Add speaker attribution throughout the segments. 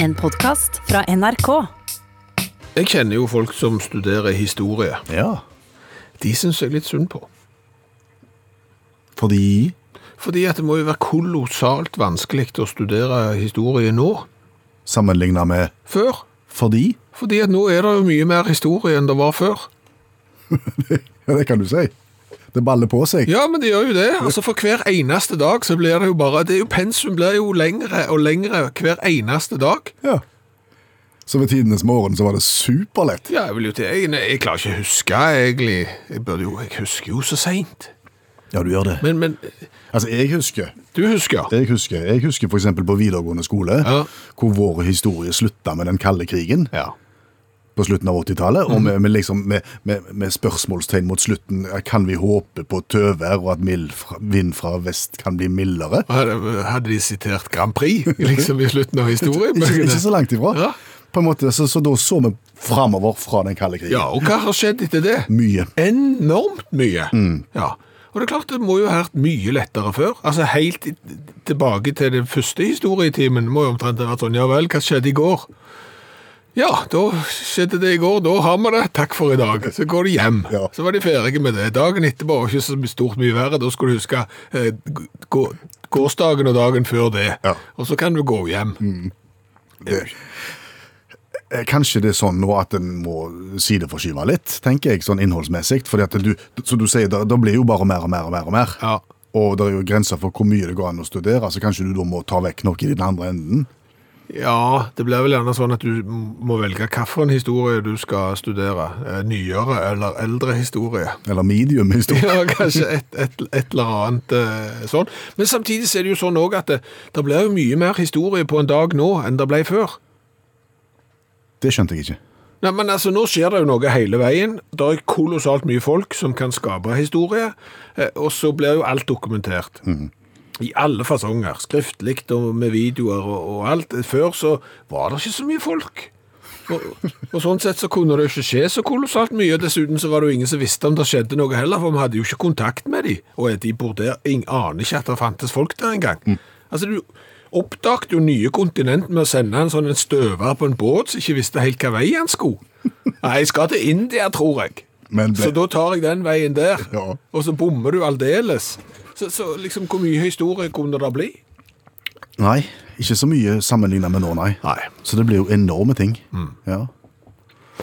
Speaker 1: En podkast fra NRK.
Speaker 2: Jeg kjenner jo folk som studerer historie.
Speaker 3: Ja.
Speaker 2: De syns jeg er litt synd på.
Speaker 3: Fordi
Speaker 2: Fordi at det må jo være kolossalt vanskelig å studere historie nå.
Speaker 3: Sammenligna med
Speaker 2: Før.
Speaker 3: fordi?
Speaker 2: Fordi at nå er det jo mye mer historie enn det var før.
Speaker 3: Ja, det kan du si. Det baller på seg.
Speaker 2: Ja, men det gjør jo det. Altså For hver eneste dag så blir det jo bare det er jo Pensum blir jo lengre og lengre hver eneste dag.
Speaker 3: Ja. Så ved tidenes morgen så var det superlett.
Speaker 2: Ja, jeg vil jo til Jeg, jeg klarer ikke å huske, egentlig. Jeg, burde jo, jeg husker jo så seint.
Speaker 3: Ja, du gjør det.
Speaker 2: Men, men
Speaker 3: Altså, jeg husker.
Speaker 2: Du husker?
Speaker 3: Jeg husker, jeg husker for eksempel på videregående skole,
Speaker 2: Ja.
Speaker 3: hvor vår historie slutta med den kalde krigen
Speaker 2: Ja.
Speaker 3: på slutten av 80-tallet, og med, med, liksom, med, med, med spørsmålstegn mot slutten. Kan vi håpe på tøvær, og at mild fra, vind fra vest kan bli mildere?
Speaker 2: Hadde hadde de sitert Grand Prix liksom i slutten av
Speaker 3: Ikke, ikke
Speaker 2: historiebøkene?
Speaker 3: så langt ifra.
Speaker 2: Ja.
Speaker 3: På en måte, så, så da så vi framover fra den kalde krigen.
Speaker 2: Ja, og hva har skjedd etter det?
Speaker 3: Mye.
Speaker 2: Enormt mye.
Speaker 3: Mm.
Speaker 2: Ja. Og det er klart, det må jo ha vært mye lettere før. Altså Helt i- tilbake til den første historietimen må jo omtrent ha vært sånn Ja vel, hva skjedde i går? Ja, da skjedde det i går. Da har vi det. Takk for i dag. Så går de hjem.
Speaker 3: Ja.
Speaker 2: Så var de ferdige med det. Dagen etterpå var ikke så stort mye verre. Da skulle du huske eh, gå- gårsdagen og dagen før det.
Speaker 3: Ja. Mm.
Speaker 2: Og så kan du gå hjem.
Speaker 3: Eh, Kanskje det er sånn nå at en må sideforskyve litt, tenker jeg, sånn innholdsmessig. Fordi at du, så du sier, det, det blir jo bare mer og mer og mer. Og mer.
Speaker 2: Ja.
Speaker 3: Og det er jo grenser for hvor mye det går an å studere, så kanskje du da må ta vekk noe i den andre enden.
Speaker 2: Ja, det blir vel gjerne sånn at du må velge hvilken historie du skal studere. Eh, Nyere eller eldre historie.
Speaker 3: Eller medium historie.
Speaker 2: Ja, kanskje et, et, et eller annet eh, sånn. Men samtidig så er det jo sånn òg at det, det blir jo mye mer historie på en dag nå enn det ble før.
Speaker 3: Det skjønte jeg ikke.
Speaker 2: Nei, men altså, Nå skjer det jo noe hele veien. Det er kolossalt mye folk som kan skape historie, eh, og så blir jo alt dokumentert. I alle fasonger. Skriftlig og med videoer og, og alt. Før så var det ikke så mye folk. Og, og Sånn sett så kunne det ikke skje så kolossalt mye. og Dessuten så var det jo ingen som visste om det skjedde noe heller, for vi hadde jo ikke kontakt med dem. Og de bor der, ingen aner ikke at det fantes folk der engang.
Speaker 3: Mm.
Speaker 2: Altså, du oppdaget jo nye kontinent med å sende en sånn en støver på en båt som ikke visste helt hva vei han skulle. Nei, jeg skal til India, tror jeg.
Speaker 3: Men ble-
Speaker 2: Så da tar jeg den veien der,
Speaker 3: Ja.
Speaker 2: og så bommer du aldeles. Så, så liksom, hvor mye historie kunne det bli?
Speaker 3: Nei, ikke så mye sammenlignet med nå, nei.
Speaker 2: Nei. Mm.
Speaker 3: Så det blir jo enorme ting. Ja.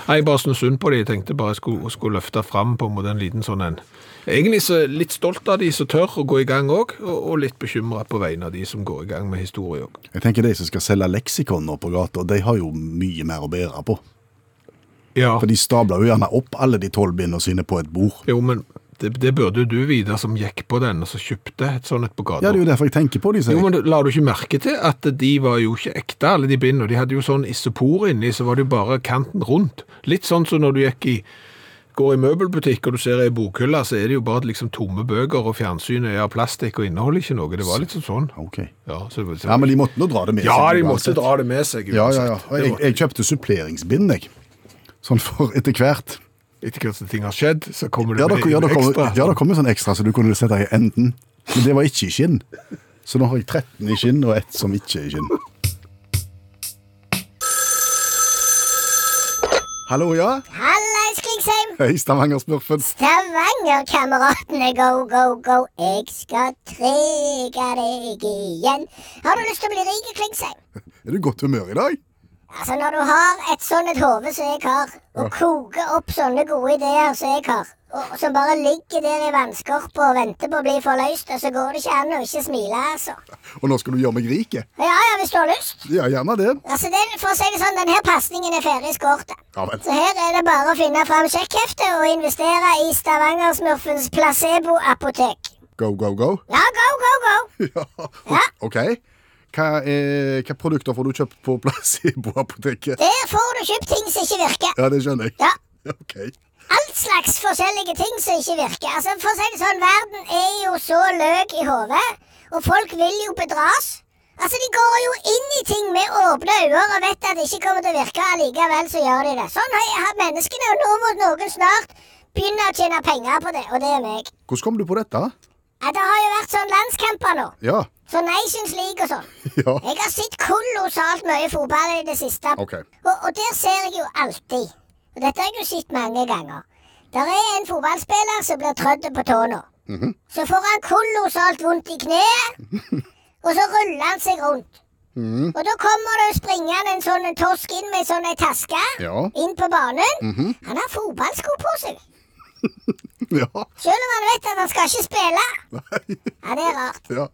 Speaker 2: Nei, jeg bare syntes synd på de. Jeg tenkte bare jeg skulle, skulle løfte fram på en måte en liten sånn en. Egentlig så er jeg litt stolt av de som tør å gå i gang òg, og, og litt bekymra på vegne av de som går i gang med historie òg.
Speaker 3: Jeg tenker de som skal selge leksikon nå på gata, de har jo mye mer å bære på.
Speaker 2: Ja.
Speaker 3: For de stabler jo gjerne opp alle de tolv bindene sine på et bord.
Speaker 2: Jo, men det, det burde jo du vite, som gikk på den og så kjøpte et sånt et på
Speaker 3: Ja,
Speaker 2: gata.
Speaker 3: det er jo derfor jeg tenker på de, sier
Speaker 2: jo,
Speaker 3: jeg.
Speaker 2: men La du ikke merke til at de var jo ikke ekte, alle de bindene? De hadde jo sånn isopor inni, så var det jo bare kanten rundt. Litt sånn som når du gikk i går i møbelbutikk og du ser ei bokhylle, så er det jo bare liksom tomme bøker, og fjernsynet er av plastikk og inneholder ikke noe. Det var litt sånn sånn.
Speaker 3: Ah, Ok.
Speaker 2: Ja, så, så,
Speaker 3: Ja, men de måtte nå dra det med
Speaker 2: ja,
Speaker 3: seg
Speaker 2: de måtte
Speaker 3: uansett.
Speaker 2: dra det med seg
Speaker 3: Ja, ja, ja. Og
Speaker 2: Det
Speaker 3: Jeg,
Speaker 2: var-
Speaker 3: jeg kjøpte suppleringsbind, jeg. Sånn for etter hvert.
Speaker 2: Etter hvert som ting har skjedd, så kommer det
Speaker 3: Ja, det,
Speaker 2: med
Speaker 3: ja,
Speaker 2: noe
Speaker 3: det kom,
Speaker 2: ekstra.
Speaker 3: ja, det kom jo sånn ekstra, så du kunne sette deg i enden. Men det var ikke i skinn. Så nå har jeg 13 i skinn, og ett som ikke er i skinn. Hallo, ja?
Speaker 4: Hallais, Klingsheim!
Speaker 3: Hei, Stavanger-smurfen.
Speaker 4: Stavanger-kameratene, go, go, go. Jeg skal trege deg igjen. Har du lyst til å bli rik, Klingsheim?
Speaker 3: Er du i godt humør i dag?
Speaker 4: Altså, når du har et sånn et hode som jeg har, og koker opp sånne gode ideer som jeg har, og som bare ligger der i vannskorpa og venter på å bli forløst, og så går det ikke an å ikke smile, altså.
Speaker 3: Og nå skal du gjøre meg rike?
Speaker 4: Ja, ja, hvis du har lyst.
Speaker 3: Ja, gjerne det.
Speaker 4: Altså, den, for å si det sånn, denne pasningen er ferdig skåret.
Speaker 3: Ja vel.
Speaker 4: Så her er det bare å finne fram sjekkheftet og investere i Stavangersmurfens placeboapotek.
Speaker 3: Go, go, go.
Speaker 4: Ja, go, go, go!
Speaker 3: Ja. OK. Hva, eh, hva produkter får du kjøpt på Placebo-apoteket?
Speaker 4: Der får du kjøpt ting som ikke virker.
Speaker 3: Ja, det skjønner jeg.
Speaker 4: Ja,
Speaker 3: OK.
Speaker 4: Alt slags forskjellige ting som ikke virker. Altså, for å si det sånn, Verden er jo så løk i hodet, og folk vil jo bedras. Altså, De går jo inn i ting med åpne øyne og vet at det ikke kommer til å virke, allikevel så gjør de det. Sånn har har menneskene, og nå må noen snart begynne å tjene penger på det, og det er meg.
Speaker 3: Hvordan kom du på dette?
Speaker 4: Ja, Det har jo vært sånn landskamper nå.
Speaker 3: Ja.
Speaker 4: Så Nations League og sånn.
Speaker 3: Ja.
Speaker 4: Jeg har sett kolossalt mye fotball i det siste.
Speaker 3: Ok.
Speaker 4: Og, og der ser jeg jo alltid, og dette har jeg jo sett mange ganger, der er en fotballspiller som blir trødd på tåna.
Speaker 3: Mhm.
Speaker 4: Så får han kolossalt vondt i kneet, og så ruller han seg rundt.
Speaker 3: Mhm.
Speaker 4: Og da kommer det springende en sånn en torsk inn med en sånn en taske
Speaker 3: Ja. Mhm.
Speaker 4: inn på banen. Han har fotballsko på seg,
Speaker 3: Ja.
Speaker 4: selv om han vet at han skal ikke spille.
Speaker 3: Nei.
Speaker 4: Ja, det er rart.
Speaker 3: Ja.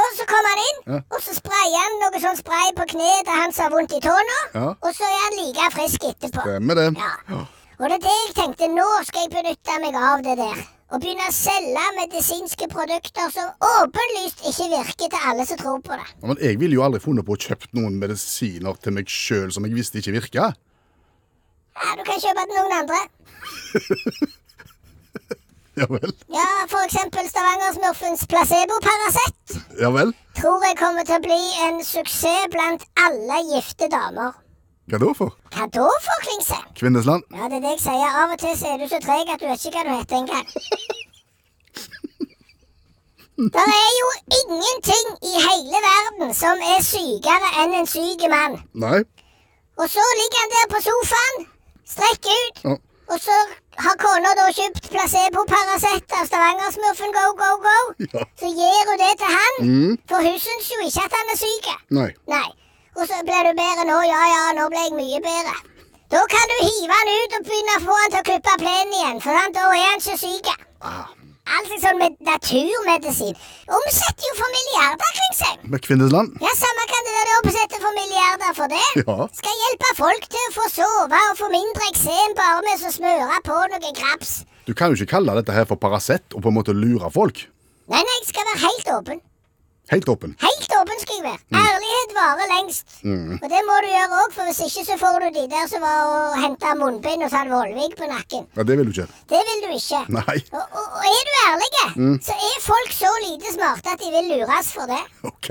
Speaker 4: Og så kom han inn,
Speaker 3: Ja.
Speaker 4: og så sprayer han noe sånn spray på kneet til han som har vondt i tåna.
Speaker 3: Ja.
Speaker 4: Og så er han like frisk etterpå.
Speaker 3: Stemmer det.
Speaker 4: Ja. Og det er det jeg tenkte, nå skal jeg benytte meg av det der. Og begynne å selge medisinske produkter som åpenlyst ikke virker til alle som tror på det.
Speaker 3: Ja, Men jeg ville jo aldri funnet på å kjøpt noen medisiner til meg sjøl som jeg visste ikke virka.
Speaker 4: Ja, Du kan kjøpe til noen andre.
Speaker 3: Ja vel.
Speaker 4: Ja, For eksempel Stavanger-smurfens placebo-Paracet.
Speaker 3: Ja vel.
Speaker 4: Tror jeg kommer til å bli en suksess blant alle gifte damer.
Speaker 3: Hva da for?
Speaker 4: Hva da, for Klingse?
Speaker 3: Kvinnesland?
Speaker 4: Ja, det er det jeg sier. Av og til så er du så treg at du vet ikke hva du heter engang. Det er jo ingenting i hele verden som er sykere enn en syk mann.
Speaker 3: Nei.
Speaker 4: Og så ligger han der på sofaen, strekker ut,
Speaker 3: Ja.
Speaker 4: og så har kona da kjøpt placebo-Paracet av Stavangersmurfen Go Go Go.
Speaker 3: Ja. Mm.
Speaker 4: Så gir hun det til han, for hun syns jo ikke at han er syk.
Speaker 3: Nei.
Speaker 4: Nei. Og så ble du bedre nå. Ja, ja, nå ble jeg mye bedre. Da kan du hive han ut og begynne å få han til å klippe plenen igjen, for han, da er han ikke syk.
Speaker 3: Ah.
Speaker 4: Altså sånn med naturmedisin. Omsetter jo for milliarder kring seg.
Speaker 3: Med kvinnesland?
Speaker 4: Ja, samme kan det være omsetter for milliarder for det.
Speaker 3: Ja.
Speaker 4: Skal hjelpe folk til å få sove og få mindre eksem bare med å smøre på noe graps.
Speaker 3: Du kan jo ikke kalle dette her for Paracet og på en måte lure folk.
Speaker 4: Nei, nei, jeg skal være helt åpen.
Speaker 3: Helt åpen.
Speaker 4: Helt åpen skal jeg være. Ærlighet varer lengst. Og det må du gjøre òg, for hvis ikke så får du de der som var og henta munnbind hos han Vollvik på nakken.
Speaker 3: Ja, Det vil du ikke.
Speaker 4: Det vil du ikke.
Speaker 3: Nei.
Speaker 4: Og, og, og er du ærlig, så er folk så lite smarte at de vil lures for det.
Speaker 3: Ok.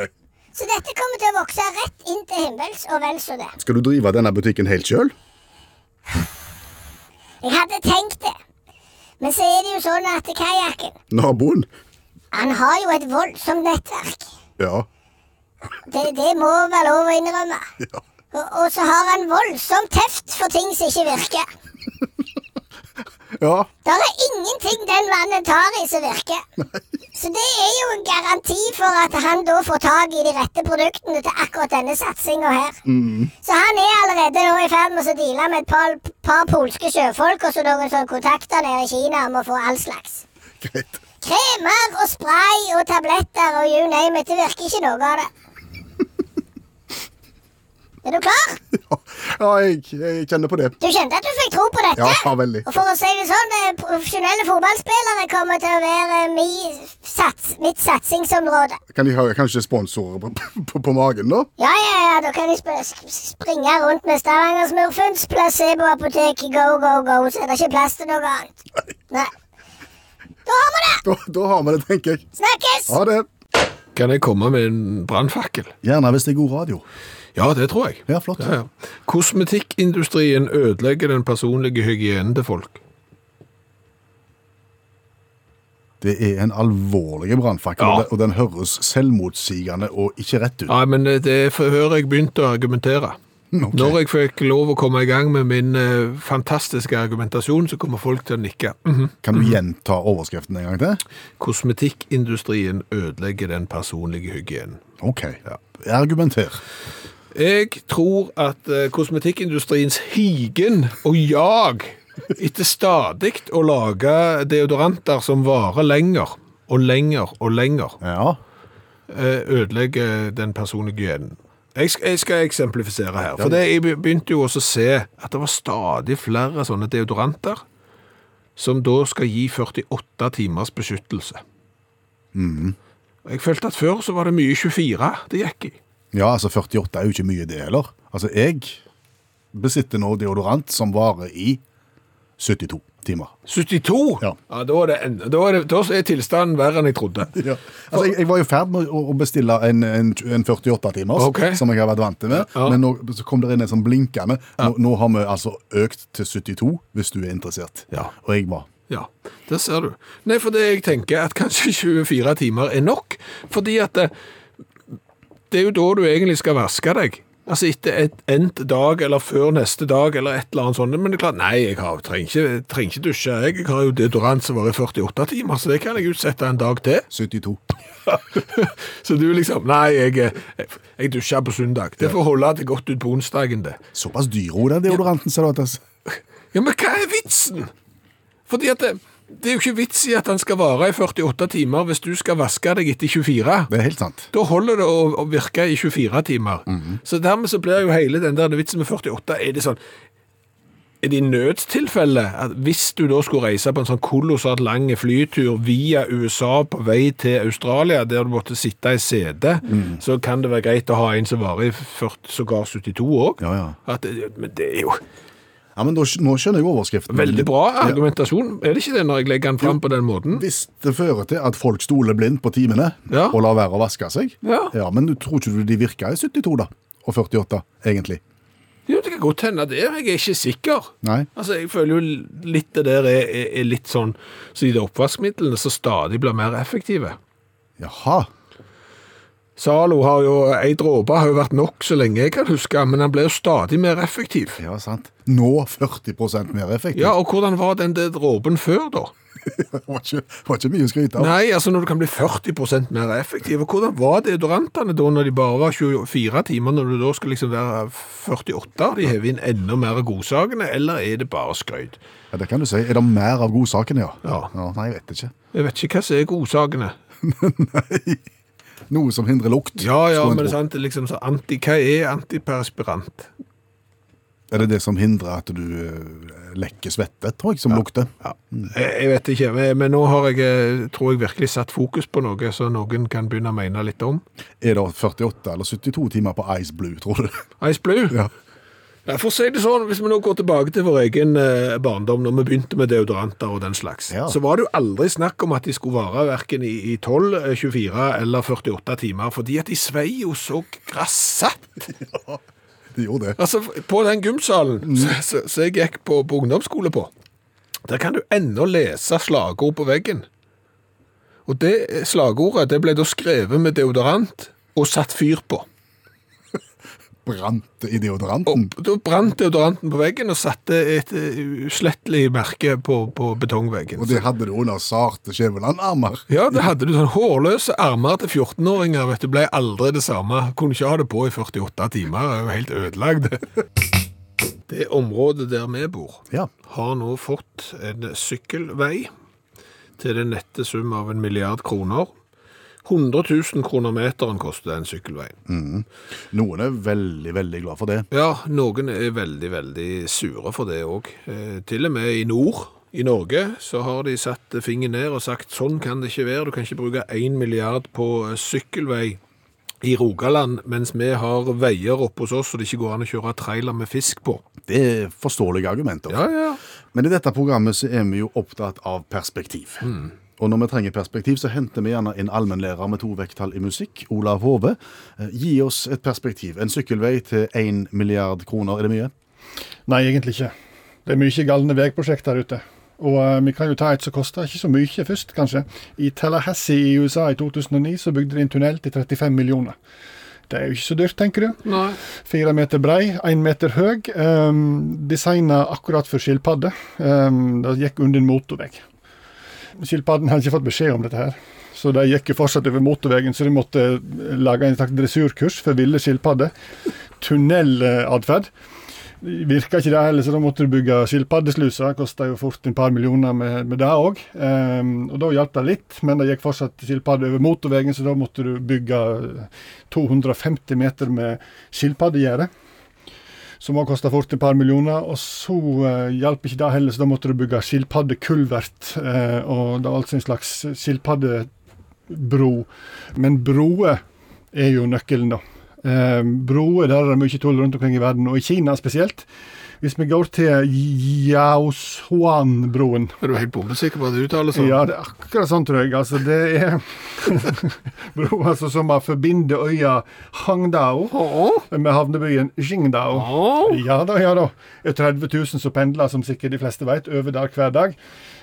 Speaker 4: Så dette kommer til å vokse rett inn til himmels og vel så det.
Speaker 3: Skal du drive denne butikken helt sjøl?
Speaker 4: Jeg hadde tenkt det. Men så er det jo sånn at kajakken
Speaker 3: Naboen?
Speaker 4: Han har jo et voldsomt nettverk.
Speaker 3: Ja.
Speaker 4: Det, det må være lov å innrømme.
Speaker 3: ja.
Speaker 4: Og, og så har han voldsomt teft for ting som ikke virker.
Speaker 3: Ja.
Speaker 4: Det er ingenting den mannen tar i som virker. Så det er jo en garanti for at han da får tak i de rette produktene til akkurat denne satsinga her. Så han er allerede nå i ferd med å deale med et par, par polske sjøfolk og så noen sånne kontakter nede i Kina om å få all slags.
Speaker 3: Greit.
Speaker 4: Kremer og spray og tabletter og you name it. Det virker ikke noe av det. Er du klar?
Speaker 3: Ja, ja jeg, jeg kjenner på det.
Speaker 4: Du kjente at du fikk tro på dette?
Speaker 3: Ja, veldig.
Speaker 4: Og for å si det sånn, eh, profesjonelle fotballspillere kommer til å være eh, mi sats, mitt satsingsområde.
Speaker 3: Kan de ha kanskje sponsorer på, på, på magen, da?
Speaker 4: Ja, ja, ja, da kan de sp sp- springe rundt med Stavanger-smurfens placeboapotek. Go, go, go, så er det ikke plass til noe annet. Nei. Da har vi det!
Speaker 3: Da, da har vi det, tenker jeg.
Speaker 4: Snakkes!
Speaker 3: Ha det.
Speaker 2: Kan jeg komme med en brannfakkel?
Speaker 3: Gjerne hvis det er god radio.
Speaker 2: Ja, det tror jeg.
Speaker 3: Ja, flott.
Speaker 2: Ja, ja. Kosmetikkindustrien ødelegger den personlige hygienen til folk.
Speaker 3: Det er en alvorlig brannfakkel,
Speaker 2: Ja.
Speaker 3: og den- og den høres selvmotsigende og ikke rett ut.
Speaker 2: Nei, men eh, det er før jeg begynte å argumentere.
Speaker 3: Ok.
Speaker 2: Når jeg fikk lov å komme i gang med min eh, fantastiske argumentasjon, så kommer folk til å nikke. Mhm.
Speaker 3: Kan du gjenta overskriften en gang til?
Speaker 2: Kosmetikkindustrien ødelegger den personlige hygienen.
Speaker 3: Ok. Argumenter.
Speaker 2: Jeg tror at eh, kosmetikkindustriens higen og jag etter stadig å lage deodoranter som varer lenger og lenger og lenger,
Speaker 3: Ja.
Speaker 2: eh, ødelegger den personlige hygienen. Jeg skal, jeg skal eksemplifisere her. For det, jeg begynte jo også å se at det var stadig flere sånne deodoranter som da skal gi 48 timers beskyttelse. Og Jeg følte at før så var det mye 24 det gikk i.
Speaker 3: Ja, altså 48 er jo ikke mye det heller. Altså, jeg besitter nå deodorant som varer i 72 timer.
Speaker 2: 72?
Speaker 3: Ja.
Speaker 2: da, er det en, da, er det, da er tilstanden verre enn jeg trodde.
Speaker 3: Altså, jeg, jeg var jo ferdig med å å bestille en, en, en 48-timers,
Speaker 2: Ok.
Speaker 3: som jeg har vært vant til med,
Speaker 2: Ja.
Speaker 3: men nå så kom det inn en sånn blinkende. Nå, nå har vi altså økt til 72, hvis du er interessert.
Speaker 2: Ja.
Speaker 3: Og jeg var.
Speaker 2: Ja, det ser du. Nei, for det jeg tenker at kanskje 24 timer er nok, fordi at eh, Det er jo da du egentlig skal vaske deg. Altså etter et endt dag, eller før neste dag, eller et eller annet sånt. Men det er klart, nei, jeg har, trenger, ikke, trenger ikke dusje. Jeg, jeg har jo deodorant som varer i 48 timer, så det kan jeg utsette en dag til.
Speaker 3: 72.
Speaker 2: så du liksom Nei, jeg, jeg, jeg dusjer på søndag. Det får holde til godt ut på onsdagen, det.
Speaker 3: Såpass dyro den deodoranten, ser du. at det-
Speaker 2: Ja, men hva er vitsen? Fordi at det, det er jo ikke vits i at han skal vare i 48 timer hvis du skal vaske deg etter 24.
Speaker 3: Det er helt sant.
Speaker 2: Da holder det å, å virke i 24 timer.
Speaker 3: Mhm.
Speaker 2: Så dermed så blir jo hele den der vitsen med 48 Er det sånn Er det i nødstilfelle at hvis du da skulle reise på en sånn kolossalt lang flytur via USA på vei til Australia, der du måtte sitte i sete,
Speaker 3: Mhm.
Speaker 2: så kan det være greit å ha en som varer i 40 sågar 72 òg?
Speaker 3: Ja, ja.
Speaker 2: Men det er jo
Speaker 3: Ja, men da, skj- Nå skjønner jeg overskriften.
Speaker 2: veldig bra argumentasjon. Er det ikke det, når jeg legger den fram på den måten?
Speaker 3: Hvis det fører til at folk stoler blindt på timene
Speaker 2: Ja.
Speaker 3: og lar være å vaske seg
Speaker 2: Ja.
Speaker 3: Men du tror ikke du de virka i 72 da? Og 48, egentlig?
Speaker 2: Jo, det kan godt hende det. Jeg er ikke sikker.
Speaker 3: Nei.
Speaker 2: Altså, Jeg føler jo litt det der er, er, er litt sånn Så de der oppvaskmidlene som stadig blir mer effektive.
Speaker 3: Jaha.
Speaker 2: Zalo har jo Ei dråpe har jo vært nok så lenge jeg kan huske, men han ble jo stadig mer effektiv.
Speaker 3: Ja, sant. Nå 40 mer effektiv.
Speaker 2: Ja, og hvordan var den der dråpen før, da?
Speaker 3: Det var ikke, var ikke mye å skryte av.
Speaker 2: Nei, altså når du kan bli 40 mer effektiv, og hvordan var deodorantene da når de bare var 24 timer, når du da skal liksom være 48? De hever inn enda mer av godsakene, eller er det bare skryt?
Speaker 3: Ja, det kan du si. Er det mer av godsakene, ja?
Speaker 2: Ja.
Speaker 3: Nei, jeg vet ikke.
Speaker 2: Jeg vet ikke hva som er godsakene.
Speaker 3: Noe som hindrer lukt.
Speaker 2: Ja, ja,
Speaker 3: skulle en
Speaker 2: men det er
Speaker 3: tro.
Speaker 2: sant, det er liksom så anti, hva er antiperspirant?
Speaker 3: Er det det som hindrer at du eh, lekker svette, tror jeg, som lukter?
Speaker 2: Ja, jeg jeg vet ikke, men- men nå har jeg, eh, tror jeg virkelig satt fokus på noe, så noen kan begynne å mene litt om.
Speaker 3: Er det 48 eller 72 timer på Ice Blue, tror du?
Speaker 2: Ice Blue?
Speaker 3: Ja.
Speaker 2: Nei, for å si det sånn, hvis vi nå går tilbake til vår egen eh, barndom, når vi begynte med deodoranter og den slags,
Speaker 3: Ja.
Speaker 2: så var det jo aldri snakk om at de skulle vare hverken i, i 12, eh, 24 eller 48 timer, fordi at de svei jo så grassatt.
Speaker 3: De gjorde det.
Speaker 2: Altså, på den gymsalen som så, så jeg gikk på, på ungdomsskole på, der kan du ennå lese slagord på veggen. Og det eh, slagordet, det ble da skrevet med deodorant og satt fyr på.
Speaker 3: Brant i deodoranten.
Speaker 2: Og da brant deodoranten på veggen og satte et eh, uslettelig merke på, på betongveggen.
Speaker 3: Og det hadde du under sarte Skjæveland-armer.
Speaker 2: Ja, det hadde du sånn hårløse armer til 14-åringer, vet du, ble aldri det samme. Kunne ikke ha det på i 48 timer, er jo helt ødelagd. Det området der vi bor,
Speaker 3: Ja.
Speaker 2: har nå fått en sykkelvei til den nette sum av en milliard kroner. 100 000 kroner meteren koster den sykkelveien.
Speaker 3: Noen er veldig, veldig glad for det.
Speaker 2: Ja, noen er veldig, veldig sure for det òg. Eh, til og med i nord, i Norge, så har de satt fingeren ned og sagt sånn kan det ikke være, du kan ikke bruke én milliard på eh, sykkelvei i Rogaland, mens vi har veier oppe hos oss så det ikke går an å kjøre trailer med fisk på.
Speaker 3: Det er forståelige argumenter.
Speaker 2: Ja, ja.
Speaker 3: Men i dette programmet så er vi jo opptatt av perspektiv. Og når vi trenger perspektiv, så henter vi gjerne inn allmennlærer med to vekttall i musikk, Olav Hove. Eh, Gi oss et perspektiv. En sykkelvei til 1 milliard kroner, er det mye?
Speaker 5: Nei, egentlig ikke. Det er mye galne veiprosjekt der ute. Og eh, vi kan jo ta et som koster ikke så mye først, kanskje. I Tallahassee i USA i 2009 så bygde de en tunnel til 35 millioner. Det er jo ikke så dyrt, tenker du.
Speaker 2: Nei.
Speaker 5: Fire meter brei, én meter høy. Um, Designa akkurat for skilpadde. Um, det gikk under en motorvei. Skilpadden hadde ikke fått beskjed om dette her, så de gikk jo fortsatt over motorveien, så de måtte eh, lage en slags dressurkurs for ville skilpadder. Tunnelatferd. Virka ikke det heller, så da måtte du bygge skilpaddesluser. Kosta jo fort en par millioner med, med det òg. og da hjalp det litt, men det gikk fortsatt skilpadde over motorveien, så da måtte du bygge eh, 250 meter med skilpaddegjerde. Som også kosta fort et par millioner. Og så eh, hjalp ikke det heller, så da måtte du bygge skilpaddekulvert. Eh, og det er altså en slags skilpaddebro. Men broer er jo nøkkelen, da. Eh, broer der er det mye tull rundt omkring i verden, og i Kina spesielt. Hvis vi går til Yaoshuan-broen
Speaker 2: Er du helt bombesikker på at det uttales sånn?
Speaker 5: ja, det er akkurat sånn, tror jeg. Altså, det er broa altså, som har forbinder øya Hangdao med havnebyen Jingdao. Ja da, ja da. Det er 30 000 som pendler, som sikkert de fleste vet, over der hver dag.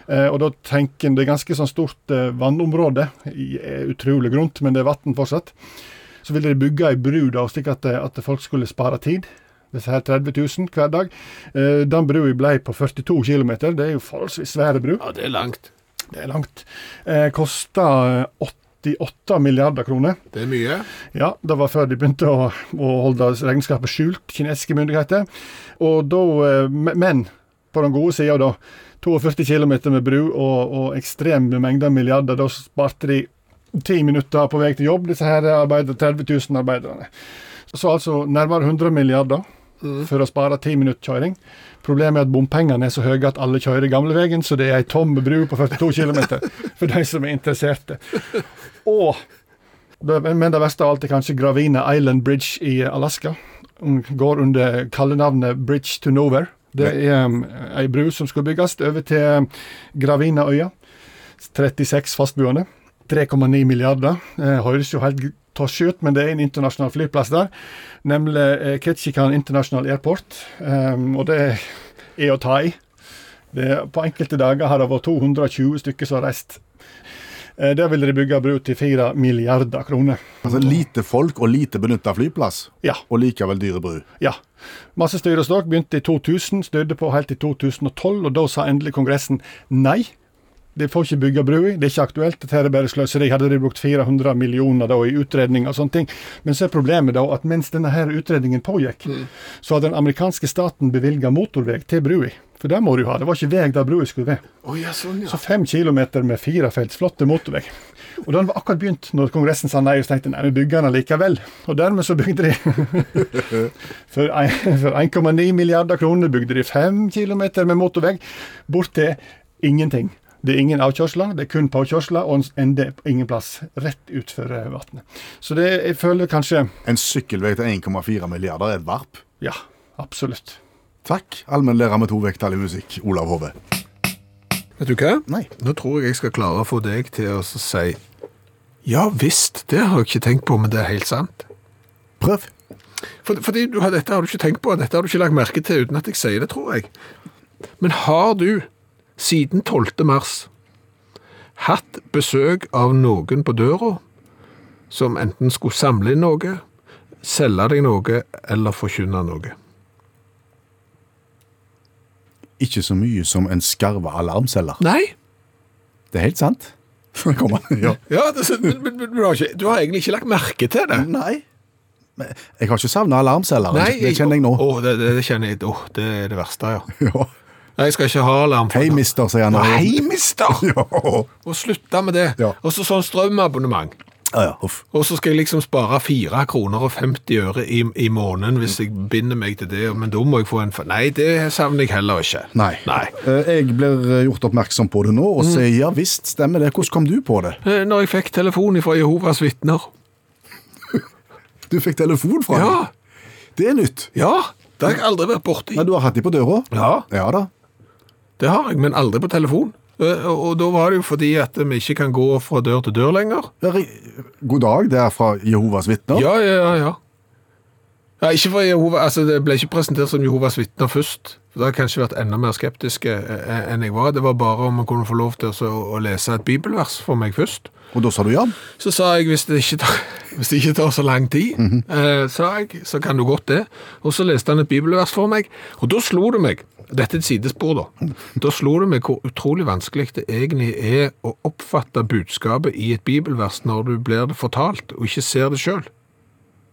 Speaker 5: Eh, og da tenker eh, en det er ganske sånn stort eh, vannområde. I- er Utrolig grunt, men det er vann fortsatt. Så ville de bygge ei bru da, slik at, eh, at folk skulle spare tid. Disse her 30 000 hver dag. Eh, Den brua ble på 42 km. Det er jo forholdsvis svære bru.
Speaker 2: Ja, det er langt.
Speaker 5: Det er langt. Eh, Kosta 88 milliarder kroner.
Speaker 2: Det er mye.
Speaker 5: Ja, det var før de begynte å, å holde regnskapet skjult, kinesiske myndigheter. Og da, eh, me- Men på den gode sida, da. 42 km med bru og, og ekstreme mengder milliarder. Da sparte de ti minutter på vei til jobb, disse her arbeider, 30 000 arbeiderne. Så altså nærmere 100 milliarder for å spare ti minutt kjøring. Problemet er at bompengene er så høye at alle kjører gamleveien, så det er ei tom bru på 42 km for de som er interesserte. Og det, men det verste av alt er kanskje Gravina Island Bridge i Alaska. Den går under kallenavnet Bridge to Nowhere. Det er um, ei bru som skal bygges over til um, Gravinaøya. 36 fastboende. 3,9 milliarder. Eh, høres jo helt tosje ut, men det er en internasjonal flyplass der. Nemlig eh, Ketchikan International Airport. Um, og det er å ta i. Det, på enkelte dager har det vært 220 stykker som har reist. Eh, der ville de bygge bru til 4 milliarder kroner.
Speaker 3: Altså Lite folk og lite benytta flyplass,
Speaker 5: Ja.
Speaker 3: og likevel dyre bru.
Speaker 5: Ja. Masse styr og ståk. Begynte i 2000, stødde på helt til 2012, og da sa endelig Kongressen nei. De får ikke bygge brua, det er ikke aktuelt, dette her er bare sløseri. Hadde de brukt 400 millioner da i utredning og sånne ting. Men så er problemet da at mens denne her utredningen pågikk,
Speaker 2: Mm.
Speaker 5: så hadde den amerikanske staten bevilga motorvei til brua. For der må du ha, det var ikke vei der brua skulle være.
Speaker 2: Å ja, sånn, ja.
Speaker 5: Så fem kilometer med firefelts flotte motorvei. Og den var akkurat begynt når Kongressen sa nei, og så tenkte nei, vi bygger den likevel. Og dermed så bygde de For en- for 1,9 milliarder kroner bygde de fem kilometer med motorvei bort til ingenting. Det er ingen avkjørsler, det er kun påkjørsler, og en ender på ingen plass. Rett utfor eh, vannet. Så det, jeg føler kanskje
Speaker 3: En sykkelvei til 1,4 milliarder er et varp.
Speaker 5: Ja, absolutt.
Speaker 3: Takk, allmennlærer med to vekttall i musikk, Olav Hove.
Speaker 2: Vet du hva?
Speaker 3: Nei.
Speaker 2: Nå tror jeg jeg skal klare å få deg til å si ja visst, det har jeg ikke tenkt på, men det er helt sant.
Speaker 3: Prøv.
Speaker 2: For, fordi du har, Dette har du ikke tenkt på, dette har du ikke lagt merke til uten at jeg sier det, tror jeg. Men har du, siden 12. mars, hatt besøk av noen på døra som enten skulle samle inn noe, selge deg noe eller forkynne noe?
Speaker 3: Ikke så mye som en skarva alarmceller.
Speaker 2: Nei.
Speaker 3: Det er helt sant. Kom an. Ja.
Speaker 2: Ja, det, men, men, men du, har ikke, du har egentlig ikke lagt merke til det.
Speaker 3: Nei. Men jeg har ikke savna alarmcelleren. det
Speaker 2: jeg-
Speaker 3: kjenner jeg nå.
Speaker 2: Å, det, det, det kjenner jeg. Å, det er det verste, ja.
Speaker 3: Ja.
Speaker 2: Nei, jeg skal ikke ha alarm. for
Speaker 3: Hei,
Speaker 2: det.
Speaker 3: mister, sier han.
Speaker 2: Å, Hei, mister!
Speaker 3: Ja.
Speaker 2: Og slutte med det.
Speaker 3: Ja.
Speaker 2: Og så sånn strømabonnement.
Speaker 3: Ja, ja, huff.
Speaker 2: Og så skal jeg liksom spare 4 kroner og 50 øre i, i måneden hvis jeg binder meg til det, men da må jeg få en... fa- Nei, det savner jeg heller ikke.
Speaker 3: Nei. Eh, Jeg blir eh, gjort oppmerksom på det nå, og sier ja visst, stemmer det. Hvordan kom du på det?
Speaker 2: Eh, Når jeg fikk telefon fra Jehovas vittner.
Speaker 3: Du fikk telefon fra
Speaker 2: Ja,
Speaker 3: dem? Det er nytt.
Speaker 2: ja, det har jeg aldri vært borti.
Speaker 3: Nei, Du har hatt de på døra?
Speaker 2: Ja.
Speaker 3: Ja da.
Speaker 2: Det har jeg, men aldri på telefon. Eh, Og, og da var det jo fordi at vi ikke kan gå fra dør til dør lenger.
Speaker 3: Ja, ri- God dag, det er fra Jehovas vitner.
Speaker 2: Ja, ja, ja, ja. Ja, ikke for Jehova, altså Det ble ikke presentert som Jehovas vitner først. for Da har jeg kanskje vært enda mer skeptiske eh, enn jeg var. Det var bare om man kunne få lov til å, å lese et bibelvers for meg først.
Speaker 3: Og da sa du ja?
Speaker 2: Så sa jeg hvis det ikke tar, hvis det ikke tar så lang tid, eh, sa jeg, så kan du godt det. Og så leste han et bibelvers for meg, og da slo det meg Dette er et sidespor, da. Da slo det meg hvor utrolig vanskelig det egentlig er å oppfatte budskapet i et bibelvers når du blir det fortalt, og ikke ser det sjøl.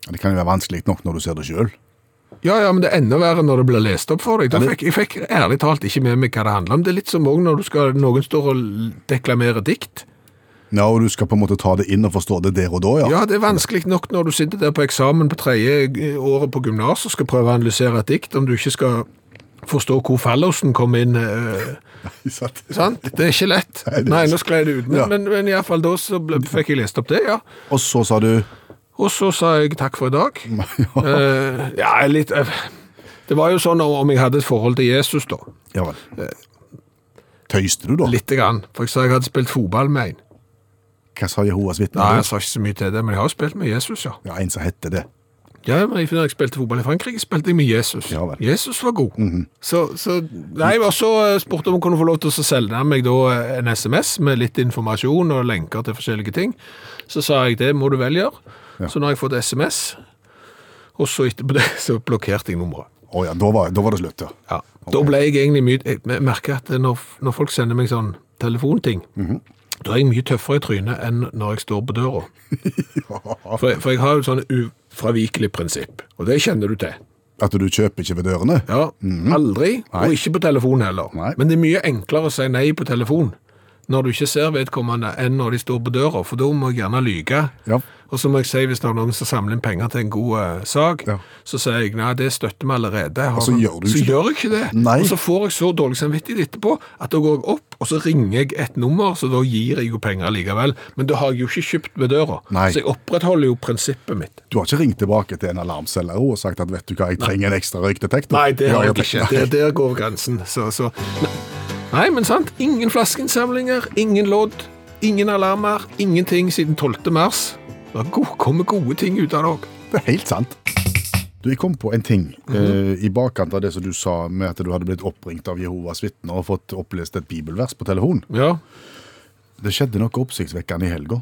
Speaker 3: Det kan jo være vanskelig nok når du ser det sjøl.
Speaker 2: Ja, ja, men det er enda verre når det blir lest opp for deg. Da fikk, jeg fikk ærlig talt ikke med meg hva det handler om. Det er litt som òg når du skal, noen står og deklamerer dikt.
Speaker 3: Ja, og du skal på en måte ta det inn og forstå det der og da, ja.
Speaker 2: Ja, det er vanskelig nok når du sitter der på eksamen på tredje eh, året på gymnas og skal prøve å analysere et dikt, om du ikke skal forstå hvor fallosen kom inn. eh,
Speaker 3: Sant.
Speaker 2: sant? Det er ikke lett.
Speaker 3: Nei, det er
Speaker 2: Nei, nå
Speaker 3: ikke-
Speaker 2: sklei det ut.
Speaker 3: Ja.
Speaker 2: Men, men, men iallfall da så ble, fikk jeg lest opp det, ja.
Speaker 3: Og så sa du
Speaker 2: Og så sa jeg takk for i dag. Eh, ja, litt eh, Det var jo sånn om- om jeg hadde et forhold til Jesus, da.
Speaker 3: Ja vel. Tøyste du, da?
Speaker 2: Litt. Grann. For jeg sa jeg hadde spilt fotball med en.
Speaker 3: Hva sa Jehovas
Speaker 2: Nei,
Speaker 3: vitner?
Speaker 2: jeg sa ikke så mye til det, men jeg har jo spilt med Jesus, ja.
Speaker 3: Ja, en som hette det.
Speaker 2: Ja, men jeg- når jeg spilte fotball i Frankrike, spilte jeg med Jesus.
Speaker 3: Ja vel.
Speaker 2: Jesus var god. så, så, nei, og så eh, spurte jeg om jeg kunne få lov til å selge meg da eh, en SMS med litt informasjon og lenker til forskjellige ting. Så sa jeg det må du vel gjøre. Så nå har jeg fått SMS, og så etterpå det så blokkerte jeg nummeret.
Speaker 3: Å ja, da var, da var det slutt, ja.
Speaker 2: Ja. Da ble jeg egentlig mye Jeg merker at når, når folk sender meg sånn telefonting,
Speaker 3: Mhm.
Speaker 2: da er jeg mye tøffere i trynet enn når jeg står på døra. For, jeg- for jeg har jo et sånn ufravikelig prinsipp, og det kjenner du til.
Speaker 3: At du kjøper ikke ved dørene?
Speaker 2: Ja, Aldri, og ikke på telefon heller.
Speaker 3: Mhm. Nei.
Speaker 2: Men det er mye enklere å si nei på telefon når du ikke ser vedkommende, enn når de står på døra, for da må jeg gjerne lyge.
Speaker 3: Ja.
Speaker 2: Og så må jeg si hvis det er noen som samler inn penger til en god eh, sak,
Speaker 3: Ja.
Speaker 2: så sier jeg nei, det støtter vi allerede. Har-
Speaker 3: så gjør du
Speaker 2: så
Speaker 3: ikke det.
Speaker 2: gjør jeg ikke det.
Speaker 3: Nei.
Speaker 2: Og så får jeg så dårlig samvittighet etterpå at da går jeg opp, og så ringer jeg et nummer, så da gir jeg jo penger likevel. Men da har jeg jo ikke kjøpt ved døra.
Speaker 3: Nei.
Speaker 2: Så jeg opprettholder jo pipet mitt.
Speaker 3: Du har ikke ringt tilbake til en alarmselger og sagt at vet du hva, jeg trenger en ekstra røykdetektor?
Speaker 2: Nei, det har
Speaker 3: Ja,
Speaker 2: jeg ikke. Det, der går grensen. Så, så. Nei, men sant. Ingen flaskeinnsamlinger, ingen lodd, ingen alarmer, ingenting siden 12. mars. Det go- kommer gode ting ut av det òg.
Speaker 3: Det er helt sant. Du, Jeg kom på en ting eh, i bakkant av det som du sa med at du hadde blitt oppringt av Jehovas vitner og fått opplest et bibelvers på telefon.
Speaker 2: Ja.
Speaker 3: Det skjedde noe oppsiktsvekkende i helga.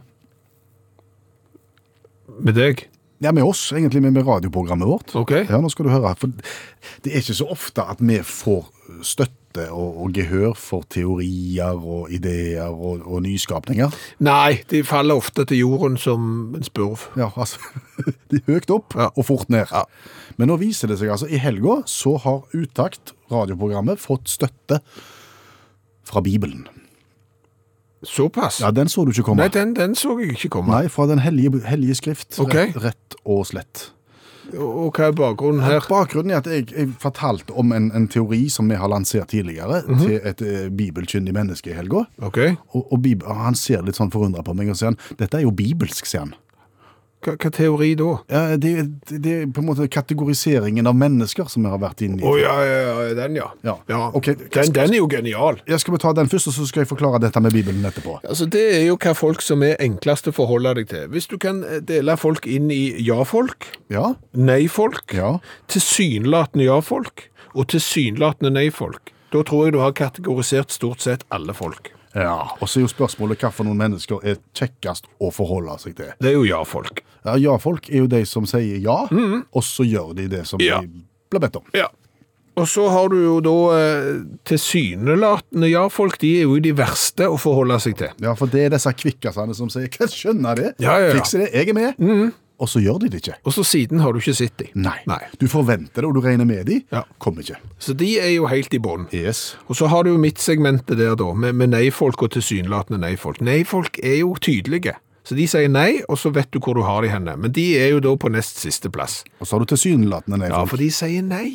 Speaker 2: Med deg.
Speaker 3: Ja, med oss, egentlig, men med radioprogrammet vårt.
Speaker 2: OK?
Speaker 3: Ja, nå skal du høre. For det er ikke så ofte at vi får støtte og, og gehør for teorier og ideer og, og nyskapninger.
Speaker 2: Nei, de faller ofte til jorden som en spurv.
Speaker 3: Ja, altså, de er høyt opp
Speaker 2: Ja.
Speaker 3: og fort ned. Men nå viser det seg altså, i helga så har Utakt, radioprogrammet, fått støtte fra Bibelen.
Speaker 2: Såpass?
Speaker 3: Ja, den så du ikke komme.
Speaker 2: Nei, den, den så jeg ikke komme.
Speaker 3: Nei, fra Den hellige, hellige skrift,
Speaker 2: Ok.
Speaker 3: rett, rett og slett.
Speaker 2: Og og hva er bakgrunnen her?
Speaker 3: Bakgrunnen er at jeg, jeg fortalte om en, en teori som vi har lansert tidligere til et eh, bibelkyndig menneske i helga.
Speaker 2: Ok,
Speaker 3: Og, og Bib- han ser litt sånn forundra på meg og sier han, dette er jo bibelsk, sier han.
Speaker 2: hva, hva teori da? Å
Speaker 3: Ja, det, det, det er på en måte kategoriseringen av mennesker som vi har vært inne i.
Speaker 2: ja, ja, ja, den ja.
Speaker 3: Ja, ok.
Speaker 2: Den, den er jo genial.
Speaker 3: Jeg skal vi ta den først, og så skal jeg forklare dette med Bibelen etterpå.
Speaker 2: Altså, det er jo hva folk som er enklest å forholde deg til. Hvis du kan eh, dele folk inn i ja-folk,
Speaker 3: Ja,
Speaker 2: nei-folk,
Speaker 3: ja.
Speaker 2: tilsynelatende ja-folk og tilsynelatende nei-folk, da tror jeg du har kategorisert stort sett alle folk.
Speaker 3: ja. Og så er jo spørsmålet hva for noen mennesker er kjekkest å forholde seg til.
Speaker 2: Det er jo ja-folk.
Speaker 3: Ja, Ja-folk er jo de som sier ja, og så gjør de det som
Speaker 2: Mhm. Ja.
Speaker 3: de blir bedt om.
Speaker 2: Ja. Og så har du jo da eh, tilsynelatende ja-folk, de er jo de verste å forholde seg til.
Speaker 3: Ja, for det er disse kvikkasene som sier «Hva skjønner det?
Speaker 2: Ja, ja, Mhm. ja.
Speaker 3: Fikser det, jeg er med!» Og så gjør de det ikke.
Speaker 2: Og så siden har du ikke sett de.
Speaker 3: Nei. Du forventer det, og du regner med de.
Speaker 2: Ja.
Speaker 3: Kommer ikke.
Speaker 2: Så de er jo helt i bånn.
Speaker 3: Yes.
Speaker 2: Og så har du jo mitt segmentet der da, med, med nei-folk og tilsynelatende nei-folk. Nei-folk er jo tydelige. Så de sier nei, og så vet du hvor du har de henne. Men de er jo da på nest siste plass.
Speaker 3: Og så har du tilsynelatende nei.
Speaker 2: Ja,
Speaker 3: folk.
Speaker 2: for de sier nei.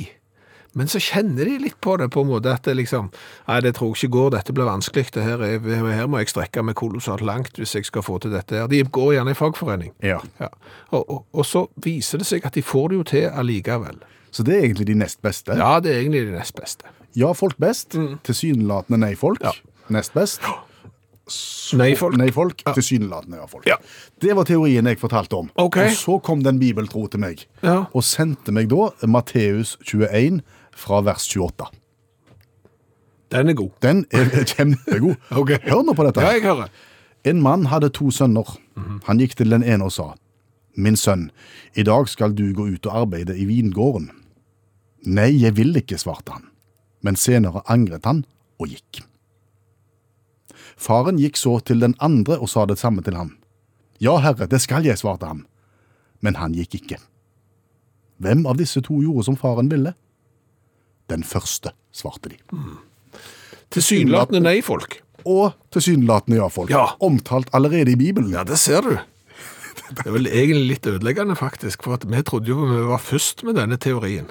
Speaker 2: Men så kjenner de litt på det, på en måte at det liksom Nei, det tror jeg ikke går, dette blir vanskelig. Det her, er, her må jeg strekke meg kolossalt langt hvis jeg skal få til dette her. De går gjerne i fagforening.
Speaker 3: Ja.
Speaker 2: Ja. Og, og, og så viser det seg at de får det jo til allikevel.
Speaker 3: Så det er egentlig de nest beste.
Speaker 2: Ja, det er egentlig det nest beste.
Speaker 3: Ja, folk best. Tilsynelatende nei folk.
Speaker 2: Ja.
Speaker 3: Nest best.
Speaker 2: Nei-folk.
Speaker 3: Nei folk. Tilsynelatende ja folk.
Speaker 2: Ja.
Speaker 3: Det var teorien jeg fortalte om.
Speaker 2: Ok.
Speaker 3: Og så kom den bibeltro til meg.
Speaker 2: Ja.
Speaker 3: Og sendte meg da Matteus 21 fra vers 28.
Speaker 2: Den er god.
Speaker 3: Den er kjempegod.
Speaker 2: Ok.
Speaker 3: Hør nå på dette.
Speaker 2: Ja,
Speaker 3: her.
Speaker 2: jeg hører.
Speaker 3: En mann hadde to sønner. Han gikk til den ene og sa, Min sønn, i dag skal du gå ut og arbeide i vingården. Nei, jeg vil ikke, svarte han, men senere angret han og gikk. Faren gikk så til den andre og sa det samme til ham. Ja, herre, det skal jeg, svarte han, men han gikk ikke. Hvem av disse to gjorde som faren ville? Den første, svarte de.
Speaker 2: Tilsynelatende nei-folk.
Speaker 3: Og tilsynelatende ja, folk.
Speaker 2: Ja.
Speaker 3: Omtalt allerede i Bibelen.
Speaker 2: Ja, det ser du. Det er vel egentlig litt ødeleggende, faktisk. For at vi trodde jo vi var først med denne teorien.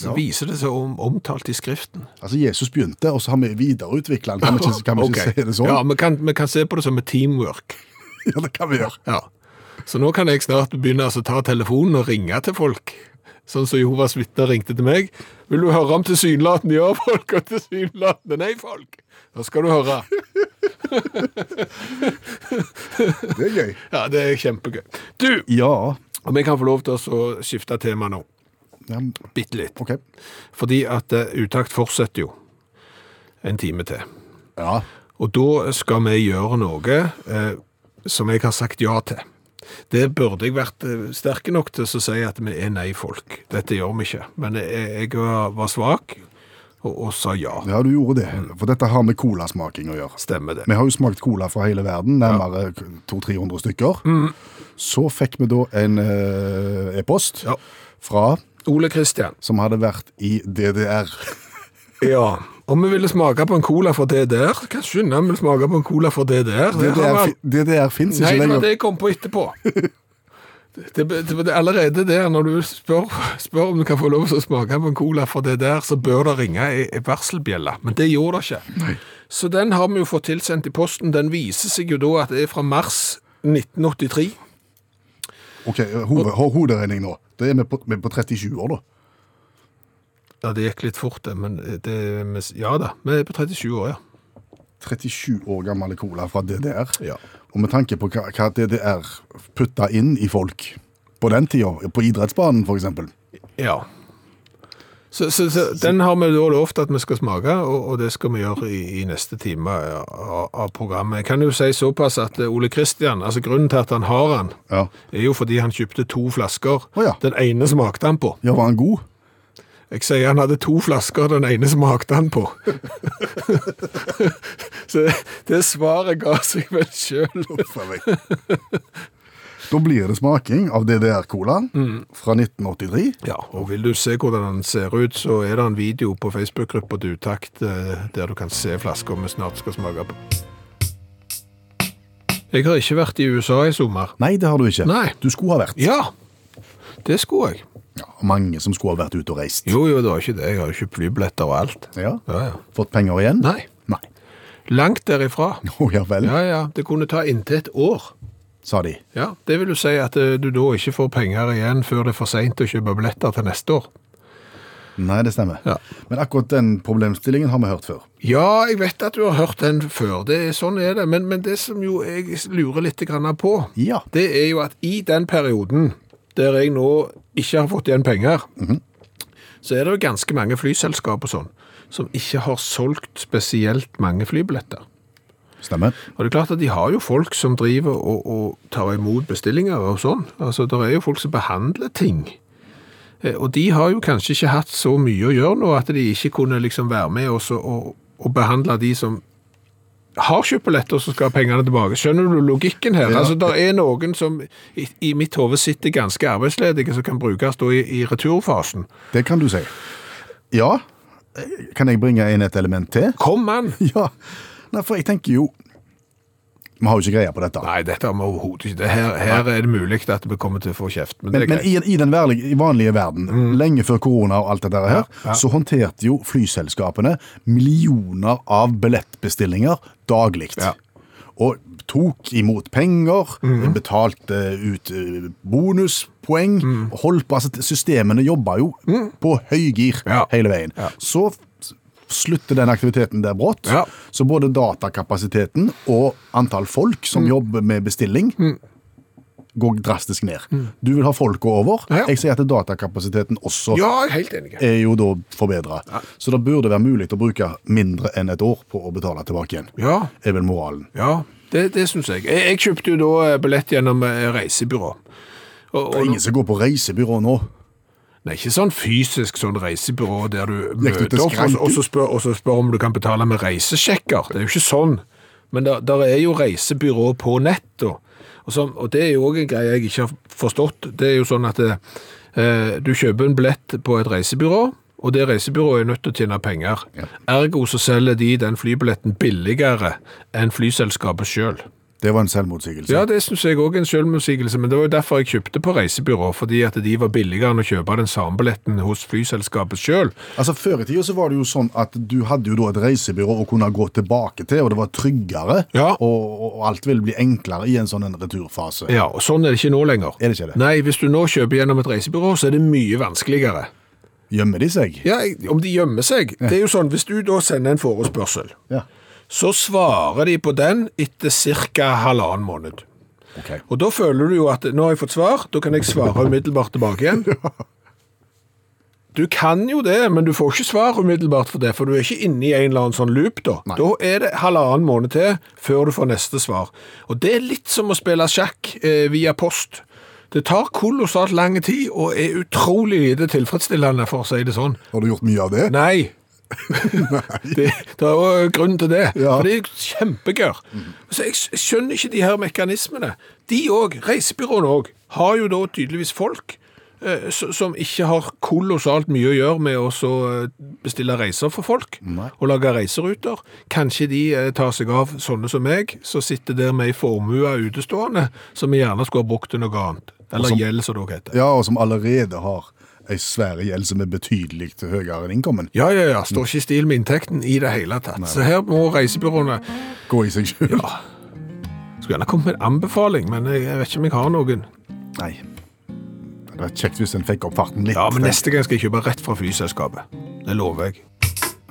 Speaker 2: Så viser det seg om, omtalt i Skriften.
Speaker 3: Altså, Jesus begynte, og så har vi videreutvikla den. Kan vi ikke, kan vi ikke
Speaker 2: Ok.
Speaker 3: si det sånn?
Speaker 2: Ja,
Speaker 3: Ja.
Speaker 2: vi kan, vi kan se på det som et teamwork.
Speaker 3: det kan vi gjøre.
Speaker 2: Ja. Så nå kan jeg snart begynne altså, å ta telefonen og ringe til folk. Sånn som Jehovas vitner ringte til meg. Vil du høre om tilsynelatende ja-folk og tilsynelatende nei-folk? Da skal du høre.
Speaker 3: Det er gøy.
Speaker 2: Ja, det er kjempegøy. Du,
Speaker 3: Ja,
Speaker 2: om jeg kan få lov til å skifte tema nå.
Speaker 3: ja
Speaker 2: Bitte litt.
Speaker 3: OK.
Speaker 2: Fordi at eh, utakt fortsetter jo en time til.
Speaker 3: Ja.
Speaker 2: Og da skal vi gjøre noe eh, som jeg har sagt ja til. Det burde jeg vært eh, sterke nok til å si at vi er nei-folk. Dette gjør vi ikke. Men jeg, jeg var, var svak og, og sa ja.
Speaker 3: Ja, du gjorde det. For dette har med colasmaking å gjøre.
Speaker 2: Stemmer det.
Speaker 3: Vi har jo smakt cola fra hele verden, nærmere 200-300 stykker.
Speaker 2: Mm.
Speaker 3: Så fikk vi da en eh, e-post
Speaker 2: Ja.
Speaker 3: fra
Speaker 2: Ole Kristian.
Speaker 3: som hadde vært i DDR.
Speaker 2: Ja. Om vi ville smake på en cola for DDR? Kanskje vi vil smake på en cola for DDR? Det har
Speaker 3: DDR,
Speaker 2: vi-
Speaker 3: fi- DDR fins
Speaker 2: Nei,
Speaker 3: ikke
Speaker 2: det var det
Speaker 3: lenger.
Speaker 2: jeg kom på etterpå. Det, det, det, allerede der, når du spør, spør om du kan få lov til å smake på en cola for det der, så bør det ringe ei- ei varselbjelle. Men det gjorde det ikke. Så den har vi jo fått tilsendt i posten. Den viser seg jo da at det er fra mars 1983.
Speaker 3: Ok, hode, ho- Hoderegning nå. Det er vi på, vi er på 37 år, da.
Speaker 2: Ja, det gikk litt fort, det, men det Ja da, vi er på 37 år, ja.
Speaker 3: 37 år gammel cola fra DDR.
Speaker 2: Ja.
Speaker 3: Og med tanke på hva, hva DDR putta inn i folk på den tida, på idrettsbanen f.eks.
Speaker 2: Ja. Så, så, så den har vi da lovt at vi skal smake, og, og det skal vi gjøre i, i neste time av, av programmet. Jeg kan jo si såpass at eh, Ole Kristian, altså grunnen til at han har han,
Speaker 3: Ja.
Speaker 2: er jo fordi han kjøpte to flasker.
Speaker 3: Å ja.
Speaker 2: Den ene smakte han på.
Speaker 3: ja, var han god?
Speaker 2: Jeg sier han hadde to flasker, den ene smakte han på. så det, det svaret ga seg vel sjøl.
Speaker 3: Uff a meg. Da blir det smaking av DDR-colaen fra 1983.
Speaker 2: Ja, og vil du se hvordan han ser ut, så er det en video på Facebook-gruppa til Utakt eh, der du kan se flasker vi snart skal smake på. Jeg har ikke vært i USA i sommer.
Speaker 3: Nei, det har du ikke.
Speaker 2: Nei.
Speaker 3: Du skulle ha vært.
Speaker 2: Ja, det skulle jeg.
Speaker 3: Ja, mange som skulle ha vært ute og reist.
Speaker 2: Jo, jo, det var ikke det. Jeg har jo kjøpt flybilletter og alt.
Speaker 3: Ja.
Speaker 2: Ja, ja.
Speaker 3: Fått penger igjen?
Speaker 2: Nei,
Speaker 3: Nei.
Speaker 2: langt derifra.
Speaker 3: Å ja vel,
Speaker 2: Ja, ja, det kunne ta inntil et år.
Speaker 3: sa de.
Speaker 2: Ja, det vil jo si at eh, du da ikke får penger igjen før det er for seint å kjøpe billetter til neste år.
Speaker 3: Nei, det stemmer.
Speaker 2: Ja.
Speaker 3: Men akkurat den problemstillingen har vi hørt før.
Speaker 2: Ja, jeg vet at du har hørt den før. Det, er- sånn er det. Men, men det som jo jeg lurer litt grann på,
Speaker 3: Ja.
Speaker 2: det er jo at i den perioden der jeg nå ikke har fått igjen penger, så er det jo ganske mange flyselskap og sånn som ikke har solgt spesielt mange flybilletter.
Speaker 3: Stemmer.
Speaker 2: Og det er klart at de har jo folk som driver og, og tar imot bestillinger og sånn. Altså, det er jo folk som behandler ting. Eh, Og de har jo kanskje ikke hatt så mye å gjøre nå at de ikke kunne liksom være med og, så- og, og behandle de som har kjøpt billetter som skal ha pengene tilbake. Skjønner du logikken her?
Speaker 3: Ja.
Speaker 2: Altså, det er noen som i, i mitt hode sitter ganske arbeidsledige som kan brukes da i, i returfasen.
Speaker 3: Det kan du si. Ja. Eh, Kan jeg bringe inn et element til?
Speaker 2: Kom an!
Speaker 3: Ja. Nei, for jeg tenker jo Vi har jo ikke greie på dette.
Speaker 2: Nei, dette har vi overhodet ikke. Det her, her er det mulig at vi kommer til å få kjeft. Men,
Speaker 3: Men,
Speaker 2: det er
Speaker 3: men
Speaker 2: greit. Mm.
Speaker 3: i, i den værlig- i vanlige verden, lenge før korona og alt det der her, så håndterte jo flyselskapene millioner av billettbestillinger daglig.
Speaker 2: Ja. Mm.
Speaker 3: Og tok imot penger, betalte ut eh, bonuspoeng,
Speaker 2: Mm.
Speaker 3: og holdt på, altså systemene jobba jo på høygir
Speaker 2: Ja.
Speaker 3: hele veien. Så f- slutter den aktiviteten der brått,
Speaker 2: Ja.
Speaker 3: så både datakapasiteten og antall folk
Speaker 2: Mm.
Speaker 3: som jobber med bestilling, går drastisk ned. Du vil ha folka over.
Speaker 2: Mm. Ja.
Speaker 3: Jeg sier at datakapasiteten også
Speaker 2: Ja, jeg er helt enig.
Speaker 3: er jo da forbedra. Så det burde være mulig å bruke mindre enn et år på å betale tilbake igjen.
Speaker 2: Ja,
Speaker 3: Er vel moralen.
Speaker 2: Ja, det, det syns jeg. jeg. Jeg kjøpte jo da eh, billett gjennom eh, reisebyrå. Og, og,
Speaker 3: Det er ingen som går på reisebyrå nå.
Speaker 2: Nei, ikke sånn fysisk sånn reisebyrå der du
Speaker 3: Gikk
Speaker 2: møter
Speaker 3: du til
Speaker 2: opp og,
Speaker 3: skranken?
Speaker 2: og, så spør, og så spør om du kan betale med reisesjekker. Det er jo ikke sånn. Men der, der er jo reisebyrå på nett. Og, og, sånn, og det er jo òg en greie jeg ikke har forstått. Det er jo sånn at eh, eh, du kjøper en billett på et reisebyrå. Og det reisebyrået er nødt til å tjene penger. Ergo så selger de den flybilletten billigere enn flyselskapet sjøl.
Speaker 3: Det var en selvmotsigelse.
Speaker 2: Ja, det syns jeg òg er en selvmotsigelse, men det var jo derfor jeg kjøpte på reisebyrå, fordi at de var billigere enn å kjøpe den samme billetten hos flyselskapet sjøl.
Speaker 3: Altså Før i tida så var det jo sånn at du hadde jo da et reisebyrå å kunne gå tilbake til, og det var tryggere,
Speaker 2: Ja.
Speaker 3: og, og alt ville bli enklere i en sånn en returfase.
Speaker 2: Ja, og sånn er det ikke nå lenger.
Speaker 3: Er det ikke det?
Speaker 2: Nei, hvis du nå kjøper gjennom et reisebyrå, så er det mye vanskeligere.
Speaker 3: Gjemmer de seg?
Speaker 2: Ja, jeg- om de gjemmer seg. Det er jo sånn, hvis du da sender en forespørsel,
Speaker 3: Ja.
Speaker 2: så svarer de på den etter ca. halvannen måned.
Speaker 3: Ok.
Speaker 2: Og da føler du jo at nå har jeg fått svar, da kan jeg svare umiddelbart tilbake igjen. Du kan jo det, men du får ikke svar umiddelbart for det, for du er ikke inne i en eller annen sånn loop da.
Speaker 3: Nei.
Speaker 2: Da er det halvannen måned til før du får neste svar. Og det er litt som å spille sjakk eh, via post. Det tar kolossalt lang tid og er utrolig lite tilfredsstillende, for å si det sånn.
Speaker 3: Har du gjort mye av det?
Speaker 2: Nei. Det, det er jo grunn til det.
Speaker 3: Ja.
Speaker 2: For det er kjempegør. Så jeg s- skjønner ikke de her mekanismene. De òg, reisebyråene òg, har jo da tydeligvis folk eh, s- som ikke har kolossalt mye å gjøre med å så, eh, bestille reiser for folk og lage reiseruter. Kanskje de eh, tar seg av sånne som meg, som sitter der med ei formue utestående som vi gjerne skulle ha brukt til noe annet. Eller
Speaker 3: som-
Speaker 2: gjeld, som det òg heter.
Speaker 3: Ja, og som allerede har ei svær gjeld som er betydelig til høyere enn innkommen.
Speaker 2: Ja, ja, ja. Står ikke i stil med inntekten i det hele tatt. Så her må reisebyråene
Speaker 3: Gå i seg sjøl.
Speaker 2: Skulle gjerne kommet med en anbefaling, men jeg jeg vet ikke om jeg har noen.
Speaker 3: Nei. Det var kjekt hvis en fikk opp farten litt.
Speaker 2: Ja, men neste gang skal jeg kjøpe rett fra flyselskapet. Det lover jeg.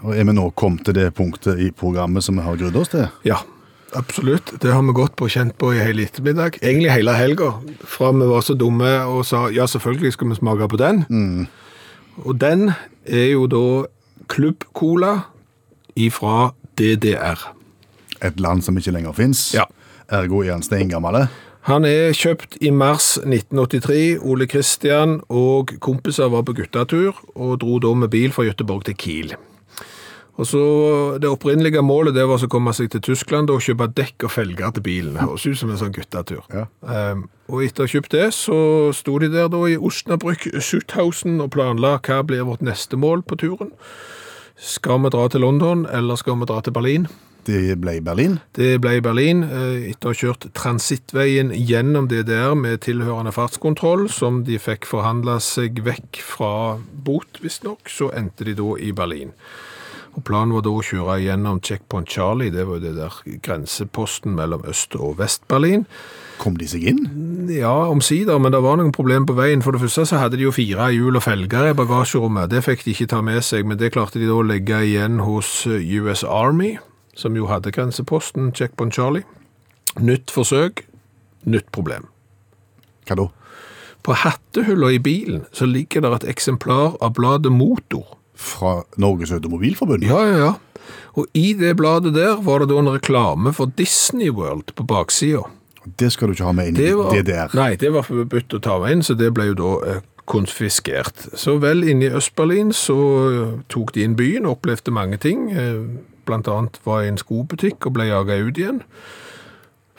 Speaker 3: Og er vi nå kommet til det punktet i programmet som vi har grudd oss til?
Speaker 2: Ja, absolutt. Det har vi gått på og kjent på i hele ettermiddag. Egentlig hele helga, fra vi var så dumme og sa ja, selvfølgelig skal vi smake på den. Og den er jo da Club Cola ifra DDR.
Speaker 3: Et land som ikke lenger fins.
Speaker 2: Ja.
Speaker 3: Ergo er han steingammel.
Speaker 2: Han er kjøpt i mars 1983. Ole Kristian og kompiser var på guttetur, og dro da med bil fra Gøteborg til Kiel. Og så Det opprinnelige målet det var så å komme seg til Tyskland og kjøpe dekk og felger til bilen. Det Høres ut som en sånn guttetur.
Speaker 3: Ja.
Speaker 2: Ehm, og etter å ha kjøpt det, så sto de der da i Osnabrück, Sutthausen, og planla hva blir vårt neste mål på turen. Skal vi dra til London, eller skal vi dra til Berlin?
Speaker 3: Det ble Berlin.
Speaker 2: Det ble i Berlin, eh, etter å ha kjørt transittveien gjennom DDR med tilhørende fartskontroll, som de fikk forhandla seg vekk fra bot, visstnok. Så endte de da i Berlin. Og Planen var da å kjøre gjennom Checkpoint Charlie, det var jo det der grenseposten mellom Øst- og Vest-Berlin.
Speaker 3: Kom de seg inn?
Speaker 2: Ja, omsider, men det var noen problemer på veien. For det første så hadde de jo fire hjul og felger i bagasjerommet. Det fikk de ikke ta med seg, men det klarte de da å legge igjen hos eh, US Army, som jo hadde grenseposten Checkpoint Charlie. Nytt forsøk, nytt problem.
Speaker 3: Hva da?
Speaker 2: På hattehylla i bilen så ligger der et eksemplar av bladet Motor.
Speaker 3: Fra Norges Automobilforbund?
Speaker 2: Ja, ja, ja. Og i det bladet der var det da en reklame for Disney World på baksida.
Speaker 3: Det skal du ikke ha med inn i
Speaker 2: Det var,
Speaker 3: DDR.
Speaker 2: Nei, det var forbudt å ta med inn, så det ble jo da eh, konfiskert. Så vel inne i Øst-Berlin så eh, tok de inn byen og opplevde mange ting. Eh, Blant annet var jeg i en skobutikk og ble jaget ut igjen.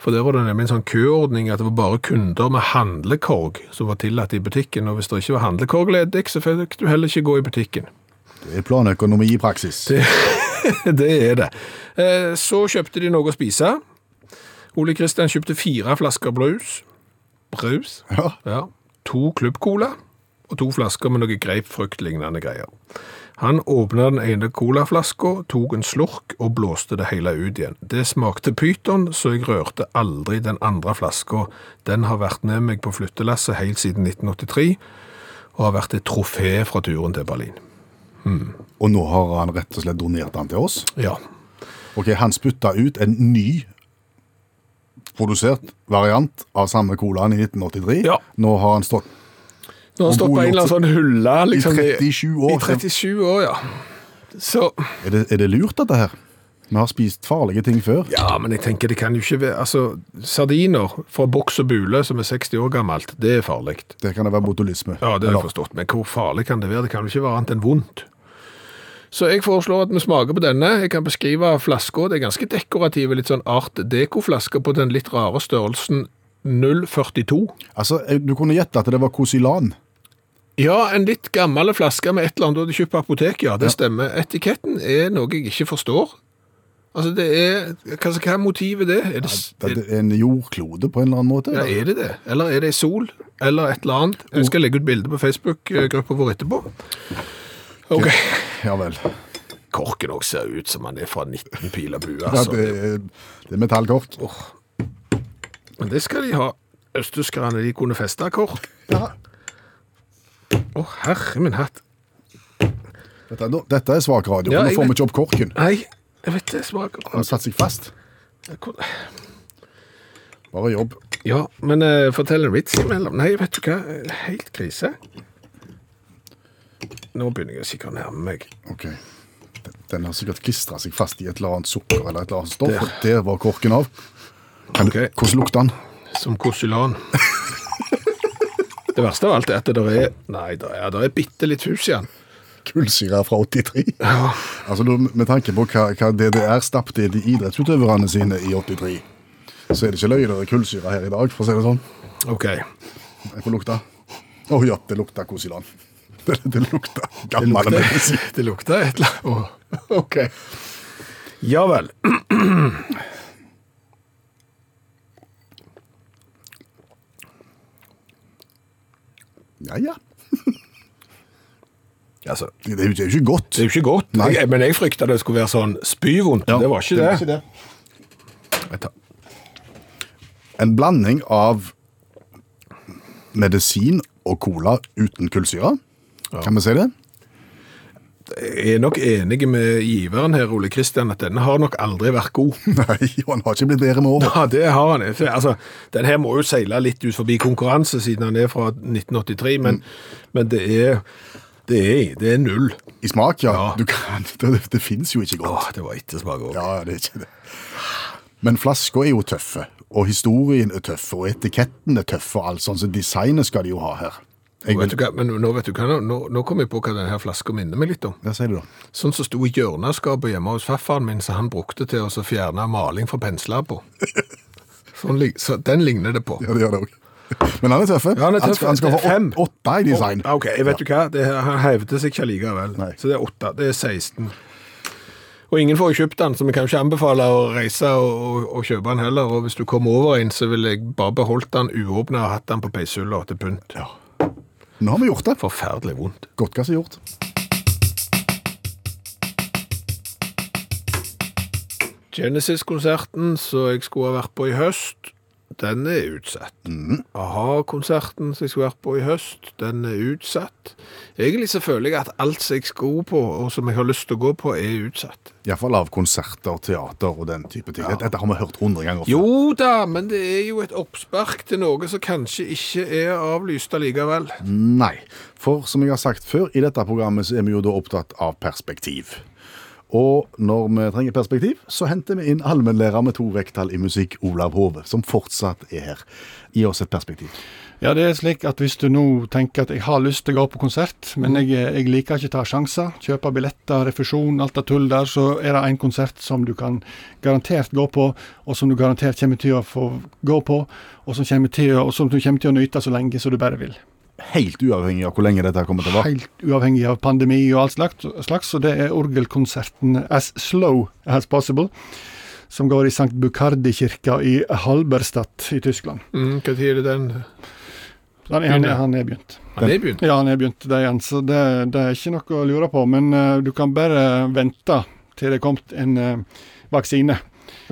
Speaker 2: For der var det nemlig en sånn køordning at det var bare kunder med handlekorg som var tillatt i butikken, og hvis det ikke var handlekorg ledig, så fikk du heller ikke gå i butikken.
Speaker 3: Det er planøkonomi i praksis.
Speaker 2: det er det. Eh, Så kjøpte de noe å spise. Ole Kristian kjøpte fire flasker brus. Brus?
Speaker 3: Ja.
Speaker 2: Ja. To klubbcola og to flasker med noe grapefruktlignende greier. Han åpna den ene colaflaska, tok en slurk og blåste det hele ut igjen. Det smakte pyton, så jeg rørte aldri den andre flaska. Den har vært med meg på flyttelasset helt siden 1983, og har vært et trofé fra turen til Berlin.
Speaker 3: Og nå har han rett og slett donert den til oss.
Speaker 2: Ja,
Speaker 3: Ok, Han spytta ut en ny produsert variant av samme colaen i 1983.
Speaker 2: Ja.
Speaker 3: Nå har han stått
Speaker 2: Nå har han
Speaker 3: Og
Speaker 2: stått på
Speaker 3: god
Speaker 2: en eller annen
Speaker 3: gjort.
Speaker 2: sånn hylle. Liksom,
Speaker 3: I 37 år.
Speaker 2: I 37 år, ja. Så,
Speaker 3: Er det, er det lurt, dette her? Vi har spist farlige ting før.
Speaker 2: ja, men jeg tenker det kan jo ikke være Altså, sardiner fra boks og bule som er 60 år gammelt, det er farlig.
Speaker 3: Det kan det være botulisme.
Speaker 2: Ja, det har
Speaker 3: Eller-
Speaker 2: jeg forstått, men hvor farlig kan det være? Det kan jo ikke være annet enn vondt. Så jeg foreslår at vi smaker på denne. Jeg kan beskrive flaska. Det er ganske dekorative, litt sånn art deco-flaske på den litt rare størrelsen 042.
Speaker 3: Altså, eh, Du kunne gjette at det var Kosilan.
Speaker 2: Ja, en litt gammel flaske med et eller annet du hadde kjøpt på apotek, ja, det stemmer. Etiketten er noe jeg ikke forstår. Altså, det er Hva, hva er motivet det? Er det,
Speaker 3: Det
Speaker 2: er,
Speaker 3: er En jordklode, på en eller Oh. annen måte.
Speaker 2: ja, er det det? Eller er det ei sol? Eller et eller annet? Jeg skal legge ut bilde på Facebook-gruppa vår etterpå. OK.
Speaker 3: Ja vel.
Speaker 2: Korken òg ser ut som han er fra 19 pil og bue,
Speaker 3: Ja,
Speaker 2: altså.
Speaker 3: det, er, det er metallkort.
Speaker 2: Men det skal de ha. Østtyskerne, de kunne feste kork.
Speaker 3: Ja.
Speaker 2: Å, herre min hatt.
Speaker 3: Dette, er nå- dette er svak radio.
Speaker 2: Ja,
Speaker 3: nå
Speaker 2: jeg
Speaker 3: får vi
Speaker 2: vet-
Speaker 3: ikke opp korken.
Speaker 2: Nei, jeg vet det smaker
Speaker 3: Den har satt seg fast.
Speaker 2: godt.
Speaker 3: Bare jobb.
Speaker 2: Ja, men eh, fortell en vits imellom. Nei, vet du hva? Helt krise. Nå begynner jeg å sikkert å nærme meg.
Speaker 3: Ok. Den- Den har sikkert klistra seg fast i et eller annet sukker eller et eller annet stoff. og Der var korken av. Kan
Speaker 2: Ok.
Speaker 3: du, hvordan lukter den?
Speaker 2: Som Kosylan. Det verste av alt er at det er Nei, det er, det er bitte litt hus igjen.
Speaker 3: Kullsyre fra 83. Altså, da, med tanke på hva, hva DDR stappte i de idrettsutøverne sine i 83, så er det ikke løye det er kullsyre her i dag, for å si det sånn.
Speaker 2: OK.
Speaker 3: Jeg får lukte. Å ja, det lukter Kosilan. Det, det lukter gammel
Speaker 2: lukter-
Speaker 3: medisin.
Speaker 2: det lukter et eller annet. Å, OK. Ja vel.
Speaker 3: Ja, ja.
Speaker 2: Altså,
Speaker 3: Det, det er jo det er jo ikke godt.
Speaker 2: det er jo ikke godt,
Speaker 3: Nei.
Speaker 2: jeg, men jeg frykta det skulle være sånn spyvondt.
Speaker 3: Ja,
Speaker 2: det var ikke
Speaker 5: Det
Speaker 2: det.
Speaker 5: er ikke det.
Speaker 2: Jeg tar-
Speaker 3: En blanding av medisin og cola uten kullsyre. Kan vi si det?
Speaker 2: Jeg er nok enig med giveren her, Ole Kristian, at denne har nok aldri vært god.
Speaker 3: Nei, og han har ikke blitt bedre med året.
Speaker 2: Ja, det har han. For, Altså, den her må jo seile litt ut forbi konkurranse, siden han er fra 1983, men, men det, er, det, er, det er null.
Speaker 3: I smak, ja.
Speaker 2: Ja.
Speaker 3: Du kan, det det, det fins jo ikke godt.
Speaker 2: Åh, det var ettersmak òg.
Speaker 3: Ja, det er ikke det. Men flasker er jo tøffe, og historien er tøff, og etiketten er tøff, og alt sånt, så designet skal de jo ha her. Jeg
Speaker 2: Vet
Speaker 3: vil,
Speaker 2: du hva, men nå, vet du hva, nå, nå kom jeg på hva denne her flaska minner meg litt om.
Speaker 3: hva sier du da?
Speaker 2: Sånn som sto i hjørneskapet hjemme hos farfaren min, som han brukte til å så fjerne maling fra pensler på. Sånn, lig- så den ligner det på.
Speaker 3: Ja, det gjør det òg. Men han er tøffe.
Speaker 2: Ja, han er tøff.
Speaker 3: skal, han skal
Speaker 2: Det er
Speaker 3: få
Speaker 2: fem.
Speaker 3: åt- åtte i design.
Speaker 2: Å, Ok, jeg vet du hva? Det her, han hevde seg ikke likevel.
Speaker 3: Nei.
Speaker 2: Så det er 8, det er 16. Og ingen får jo kjøpt den, så vi kan ikke anbefale å reise og, og, og kjøpe den heller. Og hvis du kom over en, så ville jeg bare beholdt den uåpnet og hatt den på peishylla til pynt.
Speaker 3: Nå har vi gjort det.
Speaker 2: Forferdelig vondt.
Speaker 3: Godt hva som er gjort.
Speaker 2: Genesis-konserten som jeg skulle ha vært på i høst, den er utsatt. A-ha-konserten som jeg skulle vært på i høst, den er utsatt. Egentlig så føler jeg at alt som jeg skulle på, og som jeg har lyst til å gå på, er utsatt.
Speaker 3: Iallfall av konserter, teater og den type ting. Dette har vi hørt hundre ganger. før.
Speaker 2: Jo da, men det er jo et oppspark til noe som kanskje ikke er avlyst allikevel.
Speaker 3: Nei. For som jeg har sagt før, i dette programmet så er vi jo da opptatt av perspektiv. Og når vi trenger perspektiv, så henter vi inn allmennlærer med to vekttall i musikk, Olav Hove, som fortsatt er her. Gi oss et perspektiv.
Speaker 5: Ja, det er slik at hvis du nå tenker at jeg har lyst til å gå på konsert, men jeg, jeg liker ikke å ta sjanser, kjøpe billetter, refusjon, alt det tull der, så er det en konsert som du kan garantert gå på, og som du garantert kommer til å få gå på, og som, kommer til å, og som du kommer til å nyte så lenge som du bare vil.
Speaker 3: Helt uavhengig av hvor lenge dette kommer til å vare.
Speaker 5: Helt uavhengig av pandemi og alt slags, slags så det er orgelkonserten As Slow As Possible, som går i Sankt Bukardi-kirka i Halberstadt i Tyskland.
Speaker 2: Mm, hva tid er det den?
Speaker 5: Han er, han er, han er begynt.
Speaker 2: Ja, det er begynt.
Speaker 5: Ja, han er begynt det igjen, så det, det er ikke noe å lure på. Men eh, du kan bare vente til det er kommet en eh, vaksine.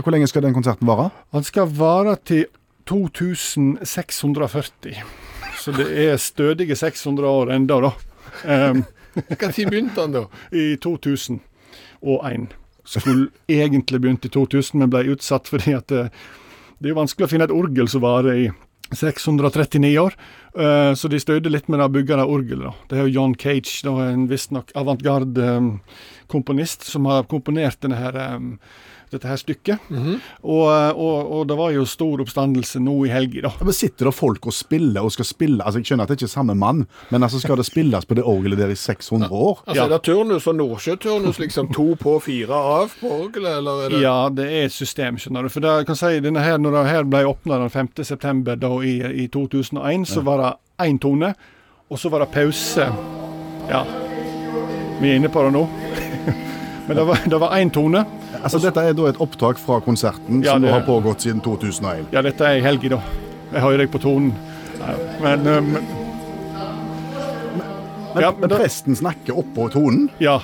Speaker 3: Hvor lenge skal den konserten vare?
Speaker 5: Han skal vare til 2640. Så det er stødige 600 år enda da. Ehm, Em,
Speaker 2: Hva tid begynte den da?
Speaker 5: I 2001. Skulle egentlig begynt i 2000, men ble utsatt fordi at eh, det er jo vanskelig å finne et orgel som varer i 639 år. Eh, så de støyde litt med det å bygge det orgelet. da. Det er jo John Cage, da, en visstnok avantgarde-komponist, som har komponert denne her, em, dette her stykket. og, eh, og, og det var jo stor oppstandelse nå i helga, da.
Speaker 3: Ja, men Sitter det folk og spiller og skal spille? Altså, Jeg skjønner at det ikke er samme mann, men altså skal det spilles på det orgelet der i 600 år?
Speaker 2: Altså,
Speaker 5: Ja.
Speaker 2: Er det turnus og nordsjøturnus, liksom to på, fire av på orgelet, eller er det
Speaker 5: Ja, det er et system, skjønner du. For det, jeg kan si, denne her, når det her ble åpna den 5. september da, i, i 2001, så var det én tone, og så var det pause. Ja, vi er inne på det nå. Men det var- det var én tone.
Speaker 3: Altså, Dette er da et opptak fra konserten
Speaker 5: Ja,
Speaker 3: som
Speaker 5: det
Speaker 3: har
Speaker 5: er-
Speaker 3: pågått siden 2001.
Speaker 5: Ja, dette er i helga, da. Jeg hører deg på tonen. Ja, Men, eh, men
Speaker 3: Men,
Speaker 5: Ja, men da-
Speaker 3: presten snakker oppå tonen.
Speaker 5: Ja,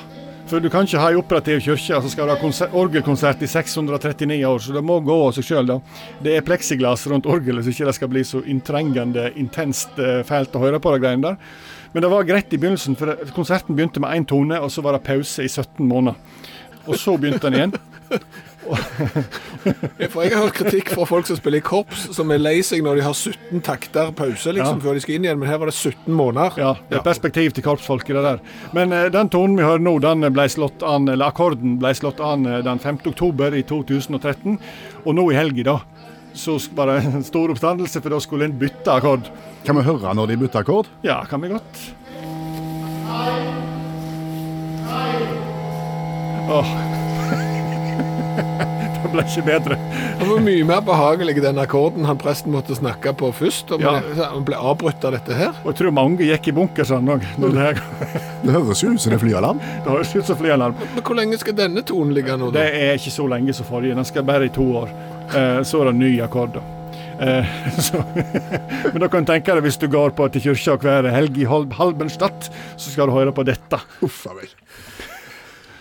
Speaker 5: for du kan ikke ha ei operativ kirke, så skal du ha konser- orgelkonsert i 639 år, så det må gå av seg sjøl, da. Det er pleksiglass rundt orgelet, så ikke det skal bli så inntrengende intenst eh, fælt å høre på de greiene der. Men det var greit i begynnelsen, for konserten begynte med én tone, og så var det pause i 17 måneder. Og så begynte han igjen.
Speaker 2: For jeg har hørt kritikk fra folk som spiller i korps, som er lei seg når de har 17 takter pause liksom,
Speaker 5: Ja.
Speaker 2: før de skal inn igjen, men her var det 17 måneder.
Speaker 5: Ja, det er perspektiv til korpsfolket, det der. Men eh, den tonen vi hører nå, den ble slått an, eller akkorden ble slått an eh, den 5. oktober i 2013. Og nå i helga, da, så sk- var det en stor oppstandelse, for da skulle en bytte akkord.
Speaker 3: Kan vi høre når de bytter akkord?
Speaker 5: Ja, kan vi godt. Åh. det ble ikke bedre.
Speaker 2: Det var mye mer behagelig den akkorden han presten måtte snakke på først. Og
Speaker 5: Ja.
Speaker 2: Han ble avbrutt av dette her.
Speaker 5: Og jeg tror mange gikk i bunkersene òg. Det
Speaker 3: Det høres jo ut som det er flyalarm.
Speaker 5: det høres ut som flyalarm.
Speaker 2: Men hvor lenge skal denne tonen ligge nå? Da?
Speaker 5: Det er ikke så lenge som forrige. Den skal bare i to år. Eh, så er det en ny akkord, da. Eh, så, men da kan du tenke deg hvis du går på til kirka hver helg i Hol- Halbenstadt, så skal du høre på dette.
Speaker 3: Uff a meg.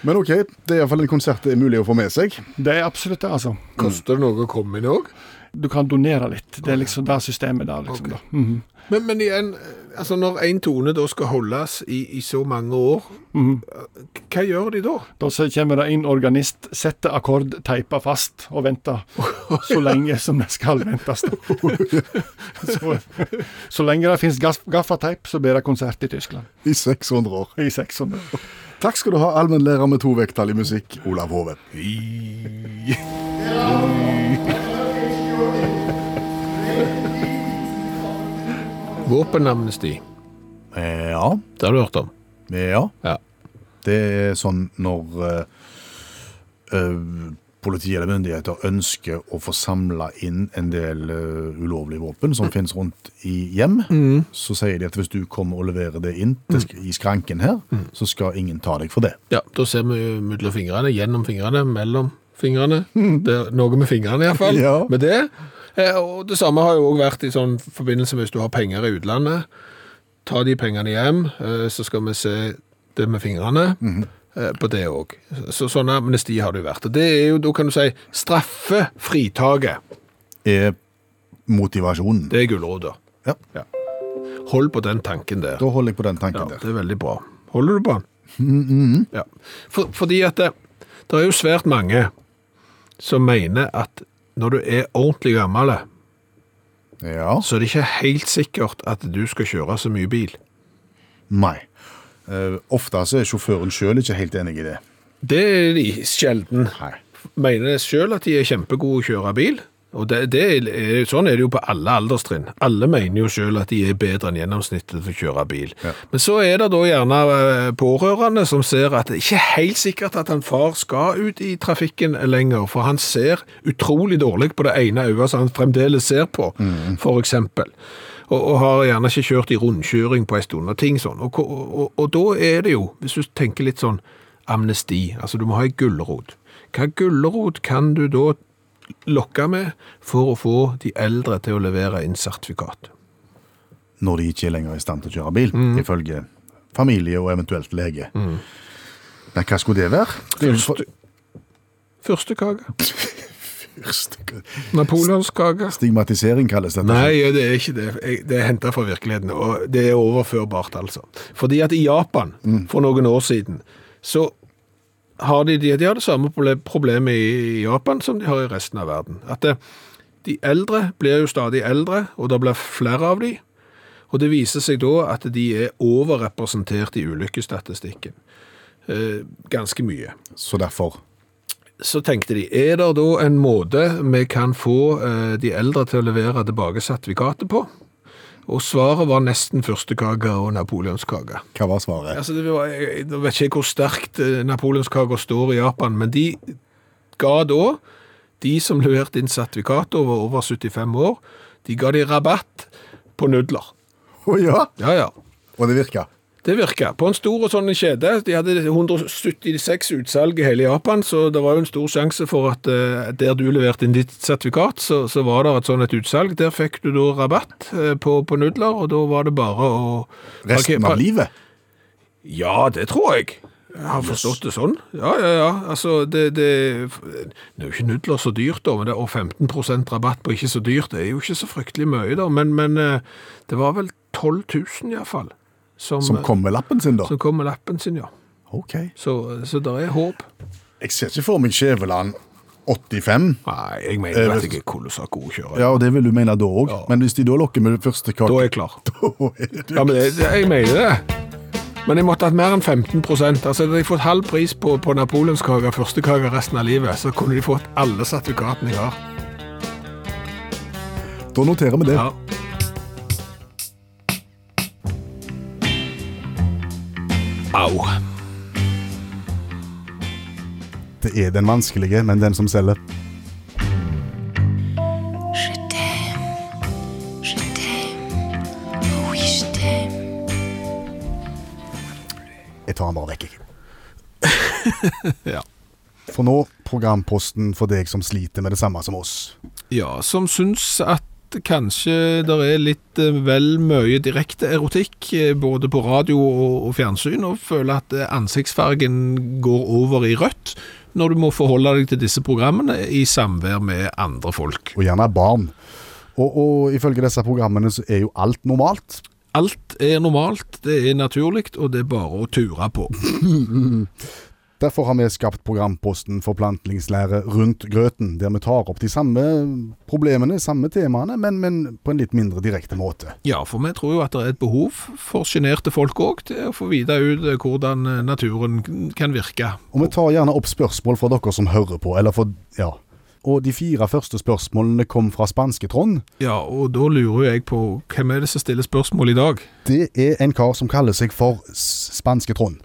Speaker 3: Men OK, det er iallfall en konsert det er mulig å få med seg.
Speaker 5: Det er absolutt det, altså.
Speaker 2: Koster det noe å komme inn òg?
Speaker 5: Du kan donere litt. Det er liksom det systemet der, liksom. Da. Mhm.
Speaker 2: Men, men igjen, altså når en tone da skal holdes i, i så mange år,
Speaker 5: Mhm.
Speaker 2: hva gjør de da?
Speaker 5: Da så kommer det inn organist, setter akkord, teiper fast og venter så lenge som det skal ventes. da. så, så lenge det finnes gaff- gaffateip, så blir det konsert i Tyskland.
Speaker 3: I 600 år.
Speaker 5: I 600.
Speaker 3: Takk skal du ha, allmennlærer med to vekttall i musikk, Olav Hove.
Speaker 2: Våpenamnesti,
Speaker 3: eh, Ja,
Speaker 2: det har du hørt om?
Speaker 3: ja.
Speaker 2: Ja.
Speaker 3: Det er sånn når eh, eh, politi eller myndigheter ønsker å få samla inn en del eh, ulovlige våpen som finnes rundt i hjem, så sier de at hvis du kommer og leverer det inn til, sk- i skranken her, så skal ingen ta deg for det.
Speaker 2: Ja, da ser vi jo mellom fingrene, gjennom fingrene, mellom fingrene. Det er noe med fingrene i hvert fall,
Speaker 3: Ja.
Speaker 2: med det. Eh, Og det samme har jo også vært i sånn forbindelse med hvis du har penger i utlandet. Ta de pengene hjem, eh, så skal vi se det med fingrene
Speaker 3: Mhm.
Speaker 2: eh, på det òg. Så sånn amnesti har det jo vært. Og det er jo, da kan du si, straffe fritaket.
Speaker 3: Er motivasjonen.
Speaker 2: Det er gulrota.
Speaker 3: Ja.
Speaker 2: Hold på den tanken der.
Speaker 3: Da holder jeg på den
Speaker 2: Ja,
Speaker 3: tanken
Speaker 2: det
Speaker 3: der.
Speaker 2: er veldig bra. Holder du på den? Ja. For, fordi at det, det er jo svært mange som mener at når du er ordentlig gammel,
Speaker 3: Ja.
Speaker 2: så er det ikke helt sikkert at du skal kjøre så mye bil.
Speaker 3: Nei. Eh, ofte så er sjåføren sjøl ikke helt enig i det.
Speaker 2: Det er de sjelden.
Speaker 3: Nei.
Speaker 2: Mener selv at de er kjempegode å kjøre bil. Og det, det er, sånn er det jo på alle alderstrinn. Alle mener jo selv at de er bedre enn gjennomsnittet til å kjøre bil.
Speaker 3: Ja.
Speaker 2: Men så er det da gjerne eh, pårørende som ser at det er ikke helt sikkert at han far skal ut i trafikken lenger, for han ser utrolig dårlig på det ene øyet som han fremdeles ser på, for eksempel. Og, og har gjerne ikke kjørt i rundkjøring på en stund og ting sånn. Og, og, og, og da er det jo, hvis du tenker litt sånn amnesti, altså du må ha en gullerod. Hva gullerod kan du da lokke med for å få de eldre til å levere inn sertifikat?
Speaker 3: Når de ikke er lenger i stand til å kjøre bil, ifølge familie og eventuelt lege. Men hva skulle det være? Det er jo for-
Speaker 2: Fyrstekake.
Speaker 3: Fyrste-
Speaker 2: Napoleonskake.
Speaker 3: Stigmatisering kalles dette.
Speaker 2: Nei, det er ikke det. Jeg- Det er hentet fra virkeligheten, og det er overførbart, altså. Fordi at i Japan, for noen år siden, så har de, de, de har det samme proble- problemet i Japan som de har i resten av verden. At eh, de eldre blir jo stadig eldre, og det blir flere av de. Og det viser seg da at de er overrepresentert i ulykkesstatistikken. Eh, ganske mye
Speaker 3: Så derfor
Speaker 2: så tenkte de, er det da en måte vi kan få eh, de eldre til å levere tilbake sertifikatet på? Og svaret var nesten førstekake og napoleonskake.
Speaker 3: Hva var svaret?
Speaker 2: Altså, det var, jeg, jeg nå vet ikke hvor sterkt eh, napoleonskaka står i Japan, men de ga da, de som leverte inn sertifikat over over 75 år, de ga de rabatt på nudler.
Speaker 3: Å ja!
Speaker 2: Ja, ja.
Speaker 3: Og det virka.
Speaker 2: Det virka. På en stor og sånn kjede. De hadde 176 utsalg i hele Japan, så det var jo en stor sjanse for at eh, der du leverte inn ditt sertifikat, så, så var det et sånn et utsalg. Der fikk du da rabatt eh, på, på nudler, og da var det bare å
Speaker 3: Resten
Speaker 2: parker-
Speaker 3: av livet.
Speaker 2: Ja, det tror jeg. Jeg har forstått det sånn. Ja, ja, ja. Altså, det, det, det er jo ikke nudler så dyrt, da, men det, og 15 rabatt på ikke så dyrt, det er jo ikke så fryktelig mye, da. Men, men eh, det var vel 12 000 iallfall.
Speaker 3: Som kom med lappen sin, da.
Speaker 2: Som kom med lappen sin, ja.
Speaker 3: OK.
Speaker 2: Så, så det er håp.
Speaker 3: Jeg ser ikke for meg Skjæveland 85.
Speaker 2: Nei, jeg mener at jeg er kolossalt god kjører.
Speaker 3: Ja, og det vil du mene da òg, men hvis de da lokker med det første kake
Speaker 2: Da er jeg klar.
Speaker 3: jeg
Speaker 2: Ja, men det, det, jeg mener det. Men jeg måtte hatt mer enn 15 Altså, Hadde jeg fått halv pris på, på napoleonskake, førstekake resten av livet, så kunne de fått alle sertifikatene jeg har.
Speaker 3: Da noterer vi det.
Speaker 2: Ja. Au.
Speaker 3: Det er den vanskelige, men den som selger.
Speaker 6: Je t'aime, je t'aime, oh oui je t'aime.
Speaker 3: Jeg tar den bare vekk, jeg.
Speaker 2: Ja.
Speaker 3: For nå programposten for deg som sliter med det samme som oss.
Speaker 2: Ja, som syns at kanskje det er litt eh, vel mye direkte erotikk, eh, både på radio og, og fjernsyn, og føler at eh, ansiktsfargen går over i rødt når du må forholde deg til disse programmene i samvær med andre folk.
Speaker 3: Og gjerne barn. Og, og ifølge disse programmene så er jo alt normalt.
Speaker 2: Alt er normalt, det er naturlig, og det er bare å ture på.
Speaker 3: Derfor har vi skapt programposten Forplantningslære rundt grøten, der vi tar opp de samme problemene, samme temaene, men, men på en litt mindre direkte måte.
Speaker 2: Ja, for vi tror jo at det er et behov for sjenerte folk òg, til å få vite ut eh, hvordan eh, naturen kan virke.
Speaker 3: Og vi tar gjerne opp spørsmål fra dere som hører på, eller for ja. Og de fire første spørsmålene kom fra spanske Trond.
Speaker 2: Ja, og da lurer jeg på hvem er det som stiller spørsmål i dag?
Speaker 3: Det er en kar som kaller seg for S- spanske Trond.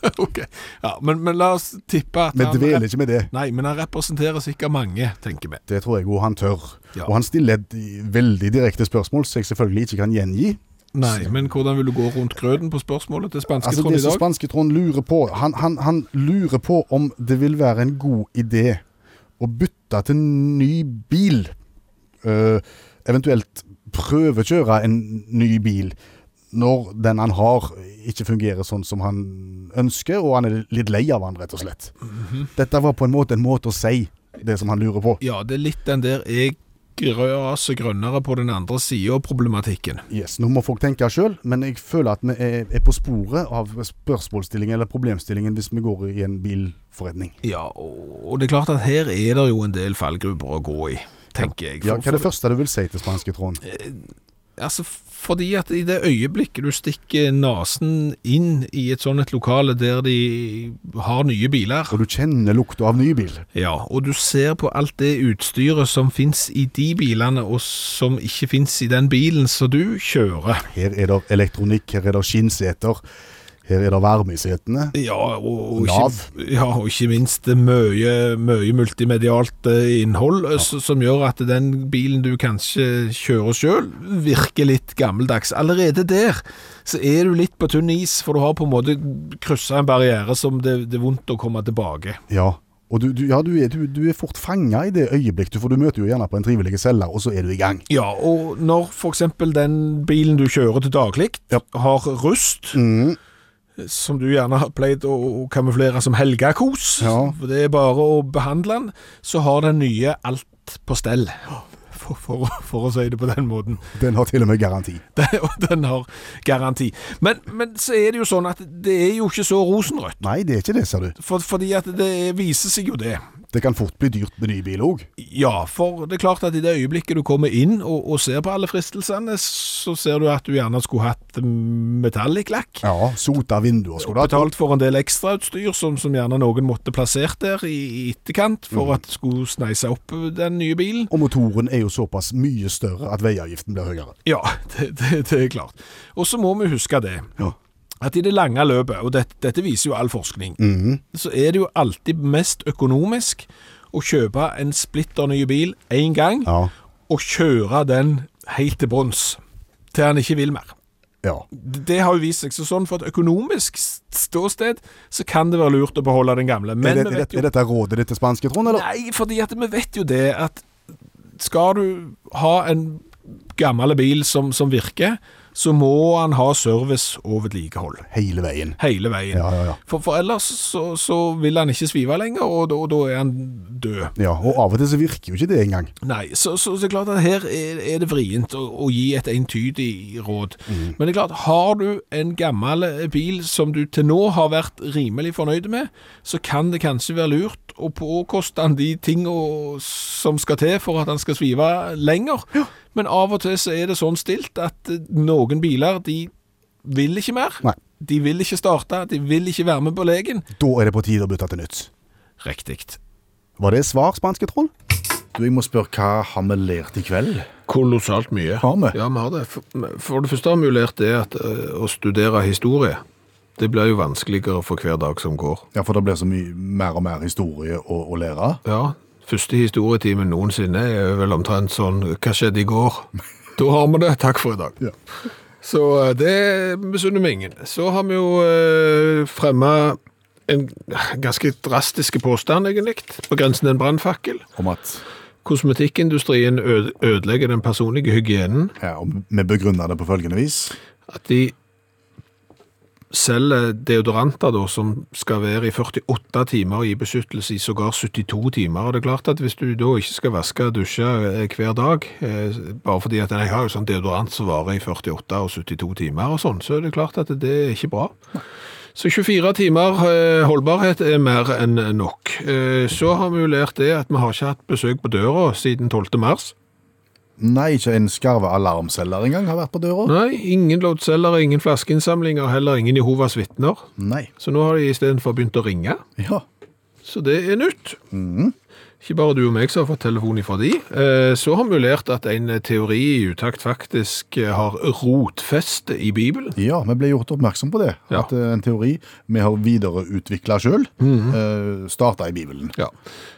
Speaker 2: Ok, ja, men, men la oss tippe at
Speaker 3: Vi
Speaker 2: han
Speaker 3: dveler ikke med det.
Speaker 2: Nei, men han representerer sikkert mange, tenker vi.
Speaker 3: Det tror jeg òg han tør.
Speaker 2: Ja.
Speaker 3: Og han stiller et veldig direkte spørsmål som jeg selvfølgelig ikke kan gjengi.
Speaker 2: Nei, men hvordan vil du gå rundt grøten på spørsmålet til spanske
Speaker 3: Altså
Speaker 2: Trond
Speaker 3: Det
Speaker 2: i
Speaker 3: som
Speaker 2: dag?
Speaker 3: spanske Trond lurer på han, han, han lurer på om det vil være en god idé å bytte til ny bil. Eh, eventuelt prøvekjøre en ny bil når den han har ikke fungerer sånn som han ønsker, og han er litt lei av han, rett og slett.
Speaker 2: Mhm.
Speaker 3: Dette var på en måte en måte å si det som han lurer på.
Speaker 2: Ja, det er litt den der jeg raser grønnere på den andre sida av problematikken.
Speaker 3: Yes, Nå må folk tenke sjøl, men jeg føler at vi er, er på sporet av spørsmålsstillingen eller problemstillingen hvis vi går i en bilforretning.
Speaker 2: Ja, og, og det er klart at her er det jo en del fallgrupper å gå i, tenker jeg.
Speaker 3: Ja,
Speaker 2: For-
Speaker 3: hva er det første du vil si til spanske Trond?
Speaker 2: Altså, fordi at i det øyeblikket du stikker nesen inn i et sånt et lokale der de har nye biler,
Speaker 3: Og du kjenner lukta av ny bil.
Speaker 2: Ja, og du ser på alt det utstyret som finnes i de bilene, og som ikke finnes i den bilen som du kjører.
Speaker 3: Her er det elektronikk, her er det skinnseter, her er det varme i setene.
Speaker 2: Ja, og, og,
Speaker 3: Nav.
Speaker 2: ikke, ja, og ikke minst det mye, mye multimedialt eh, innhold eh, s- som gjør at den bilen du kanskje kjører sjøl, virker litt gammeldags. Allerede der så er du litt på tynn is, for du har på en måte kryssa en barriere som det, det er vondt å komme tilbake.
Speaker 3: Ja, og du, du, ja, du, er, du, du er fort fanga i det øyeblikk, du, for du møter jo gjerne på en trivelig selger, og så er du i gang.
Speaker 2: Ja, og når for eksempel den bilen du kjører til daglig
Speaker 3: Ja. Mm.
Speaker 2: har rust, som du gjerne har pleid å å kamuflere som helgekos,
Speaker 3: Ja.
Speaker 2: for det er bare å behandle den, så har den nye alt på stell. For, for, for å si det på den måten.
Speaker 3: Den har til og med garanti.
Speaker 2: Den- Og den har garanti. Men, men så er det jo sånn at det er jo ikke så rosenrødt.
Speaker 3: Nei, det er ikke det, ser du.
Speaker 2: For, fordi at det viser seg jo det.
Speaker 3: Det kan fort bli dyrt med ny bil òg.
Speaker 2: Ja, for det er klart at i det øyeblikket du kommer inn og, og ser på alle fristelsene, så ser du at du gjerne skulle hatt metallic-lakk.
Speaker 3: Ja, sota vinduer skulle du ha.
Speaker 2: Betalt for en del ekstrautstyr som, som gjerne noen måtte plassert der i, i etterkant
Speaker 3: Mhm.
Speaker 2: for at det skulle sneise opp den nye bilen.
Speaker 3: Og motoren er jo såpass mye større at veiavgiften blir høyere.
Speaker 2: Ja, det, det, det er klart. Og så må vi huske det. At i det lange løpet, og dette, dette viser jo all forskning,
Speaker 3: Mhm.
Speaker 2: så er det jo alltid mest økonomisk å kjøpe en splitter ny bil én gang,
Speaker 3: Ja.
Speaker 2: og kjøre den helt til bunns, til han ikke vil mer.
Speaker 3: Ja.
Speaker 2: D- Det har jo vist seg så sånn, for et økonomisk s- ståsted så kan det være lurt å beholde den gamle. Men
Speaker 3: er, det,
Speaker 2: vi
Speaker 3: er,
Speaker 2: vet
Speaker 3: det,
Speaker 2: jo,
Speaker 3: er dette rådet ditt til spanske, Trond? Eller?
Speaker 2: Nei, fordi at vi vet jo det at skal du ha en gammel bil som, som virker, så må han ha service og vedlikehold
Speaker 3: Hele veien.
Speaker 2: hele veien.
Speaker 3: Ja, ja, ja.
Speaker 2: For, for ellers så, så vil han ikke svive lenger, og da, og da er han død.
Speaker 3: Ja, Og av og til så virker jo ikke det engang.
Speaker 2: Nei, så, så det er klart at her er, er det vrient å, å gi et entydig råd. Men det er klart, har du en gammel eh, bil som du til nå har vært rimelig fornøyd med, så kan det kanskje være lurt å påkoste han de tingene som skal til for at han skal svive lenger. Men av og til så er det sånn stilt at eh, noen biler, de vil ikke mer.
Speaker 3: Nei.
Speaker 2: De vil ikke starte, de vil ikke være med på legen.
Speaker 3: Da er det på tide å bytte til nytt.
Speaker 2: Riktig.
Speaker 3: Var det svar, spanske troll? Du, Jeg må spørre, hva har vi lært i kveld?
Speaker 2: Kolossalt mye.
Speaker 3: Har vi?
Speaker 2: Ja, vi har det. For, for det første har vi jo lært det at eh, å studere historie, det blir jo vanskeligere for hver dag som går.
Speaker 3: Ja, For det blir så mye mer og mer historie å, å lære av.
Speaker 2: Ja, første historietimen noensinne er vel omtrent sånn, hva skjedde i går? Da har vi det, takk for i dag.
Speaker 3: Ja.
Speaker 2: Så eh, det misunner vi ingen. Så har vi jo eh, fremmet en ganske drastiske påstand, egentlig, på grensen til en brandfakkel.
Speaker 3: Om at
Speaker 2: Kosmetikkindustrien øde- ødelegger den personlige hygienen.
Speaker 3: ja, og Vi begrunner det på følgende vis.
Speaker 2: at de selger deodoranter da, som skal være i 48 timer og gi beskyttelse i sågar 72 timer. Og det er klart at hvis du da ikke skal vaske og dusje eh, hver dag, eh, bare fordi at jeg har jo sånn deodorant som varer i 48 og 72 timer og sånn, så er det klart at det er ikke bra. Så 24 timer eh, holdbarhet er mer enn nok. Eh, Så har vi jo lært det at vi har ikke hatt besøk på døra siden 12. mars.
Speaker 3: Nei, ikke en skarve alarmselger engang har vært på døra.
Speaker 2: Nei, ingen loddselgere, ingen flaskeinnsamlinger, heller ingen Jehovas vitner.
Speaker 3: Nei.
Speaker 2: Så nå har de istedenfor begynt å ringe,
Speaker 3: Ja.
Speaker 2: så det er nytt.
Speaker 3: Mhm.
Speaker 2: Ikke bare du og meg som har fått telefon ifra de. Eh, Så har vi jo lært at en teori i utakt faktisk eh, har rotfeste i Bibelen.
Speaker 3: Ja, vi ble gjort oppmerksom på det.
Speaker 2: Ja.
Speaker 3: At eh, en teori vi har videreutvikla sjøl,
Speaker 2: Mhm.
Speaker 3: starta i Bibelen.
Speaker 2: Ja.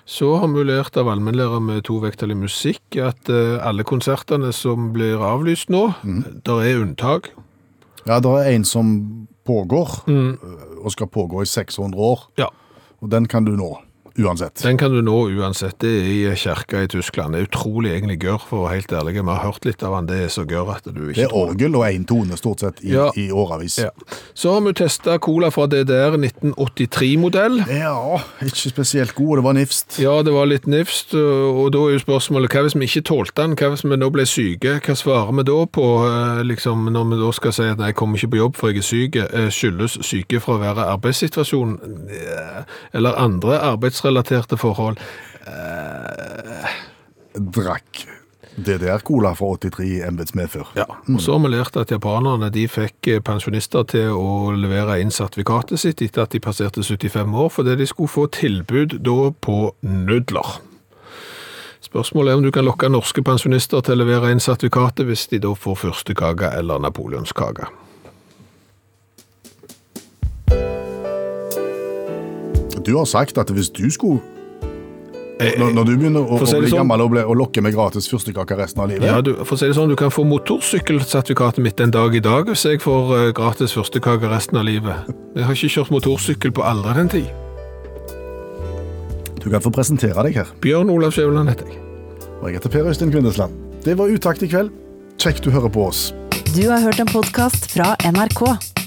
Speaker 2: Så har vi jo lært av allmennlærer med to vekttall i musikk at eh, alle konsertene som blir avlyst nå,
Speaker 3: Mhm.
Speaker 2: der er unntak.
Speaker 3: Ja, det er en som pågår, eh, og skal pågå i 600 år.
Speaker 2: Mhm. Ja.
Speaker 3: Og den kan du nå, uansett.
Speaker 2: Den kan du nå uansett. Det er i kirka i Tyskland. Det er utrolig egentlig gørr, for å være helt ærlig. Vi har hørt litt av han. Det er så gørr at du ikke
Speaker 3: Det er orgel og én tone stort sett i,
Speaker 2: Ja.
Speaker 3: i årevis.
Speaker 2: Ja. Så har vi testa cola fra DDR 1983-modell.
Speaker 3: Ja, ikke spesielt god, og det var nifst.
Speaker 2: Ja, det var litt nifst, og da er jo spørsmålet hva hvis vi ikke tålte den? Hva hvis vi nå ble syke? Hva svarer vi da på, eh, liksom, når vi da skal si at nei, jeg kommer ikke på jobb for jeg er syk? eh, Skyldes sykefraværet arbeidssituasjonen eh, eller andre arbeidsrelaterte forhold?
Speaker 3: Drakk DDR-cola fra 83 embetsmed før.
Speaker 2: Ja. Mm. Og så har vi lært at japanerne de fikk eh, pensjonister til å levere inn sertifikatet sitt etter at de passerte 75 år, fordi de skulle få tilbud da på nudler. Spørsmålet er om du kan lokke norske pensjonister til å levere inn sertifikatet hvis de da får fyrstekake eller napoleonskake.
Speaker 3: Du har sagt at hvis du skulle
Speaker 2: Eh,
Speaker 3: Når, når du begynner å,
Speaker 2: For å si
Speaker 3: å
Speaker 2: det
Speaker 3: bli
Speaker 2: sånn-
Speaker 3: gammel og, ble, og lokke med gratis fyrstekake resten av livet
Speaker 2: Ja, du, for å si det sånn, du kan få motorsykkelsertifikatet mitt en dag i dag hvis jeg får eh, gratis fyrstekake resten av livet. Jeg har ikke kjørt motorsykkel på aldri den tid.
Speaker 3: Du kan få presentere deg her.
Speaker 2: Bjørn Olav Skjæveland heter jeg.
Speaker 3: Og jeg heter Per Øystein Kvindesland. Det var utakt i kveld. Kjekt du hører på oss.
Speaker 1: Du har hørt en podkast fra NRK.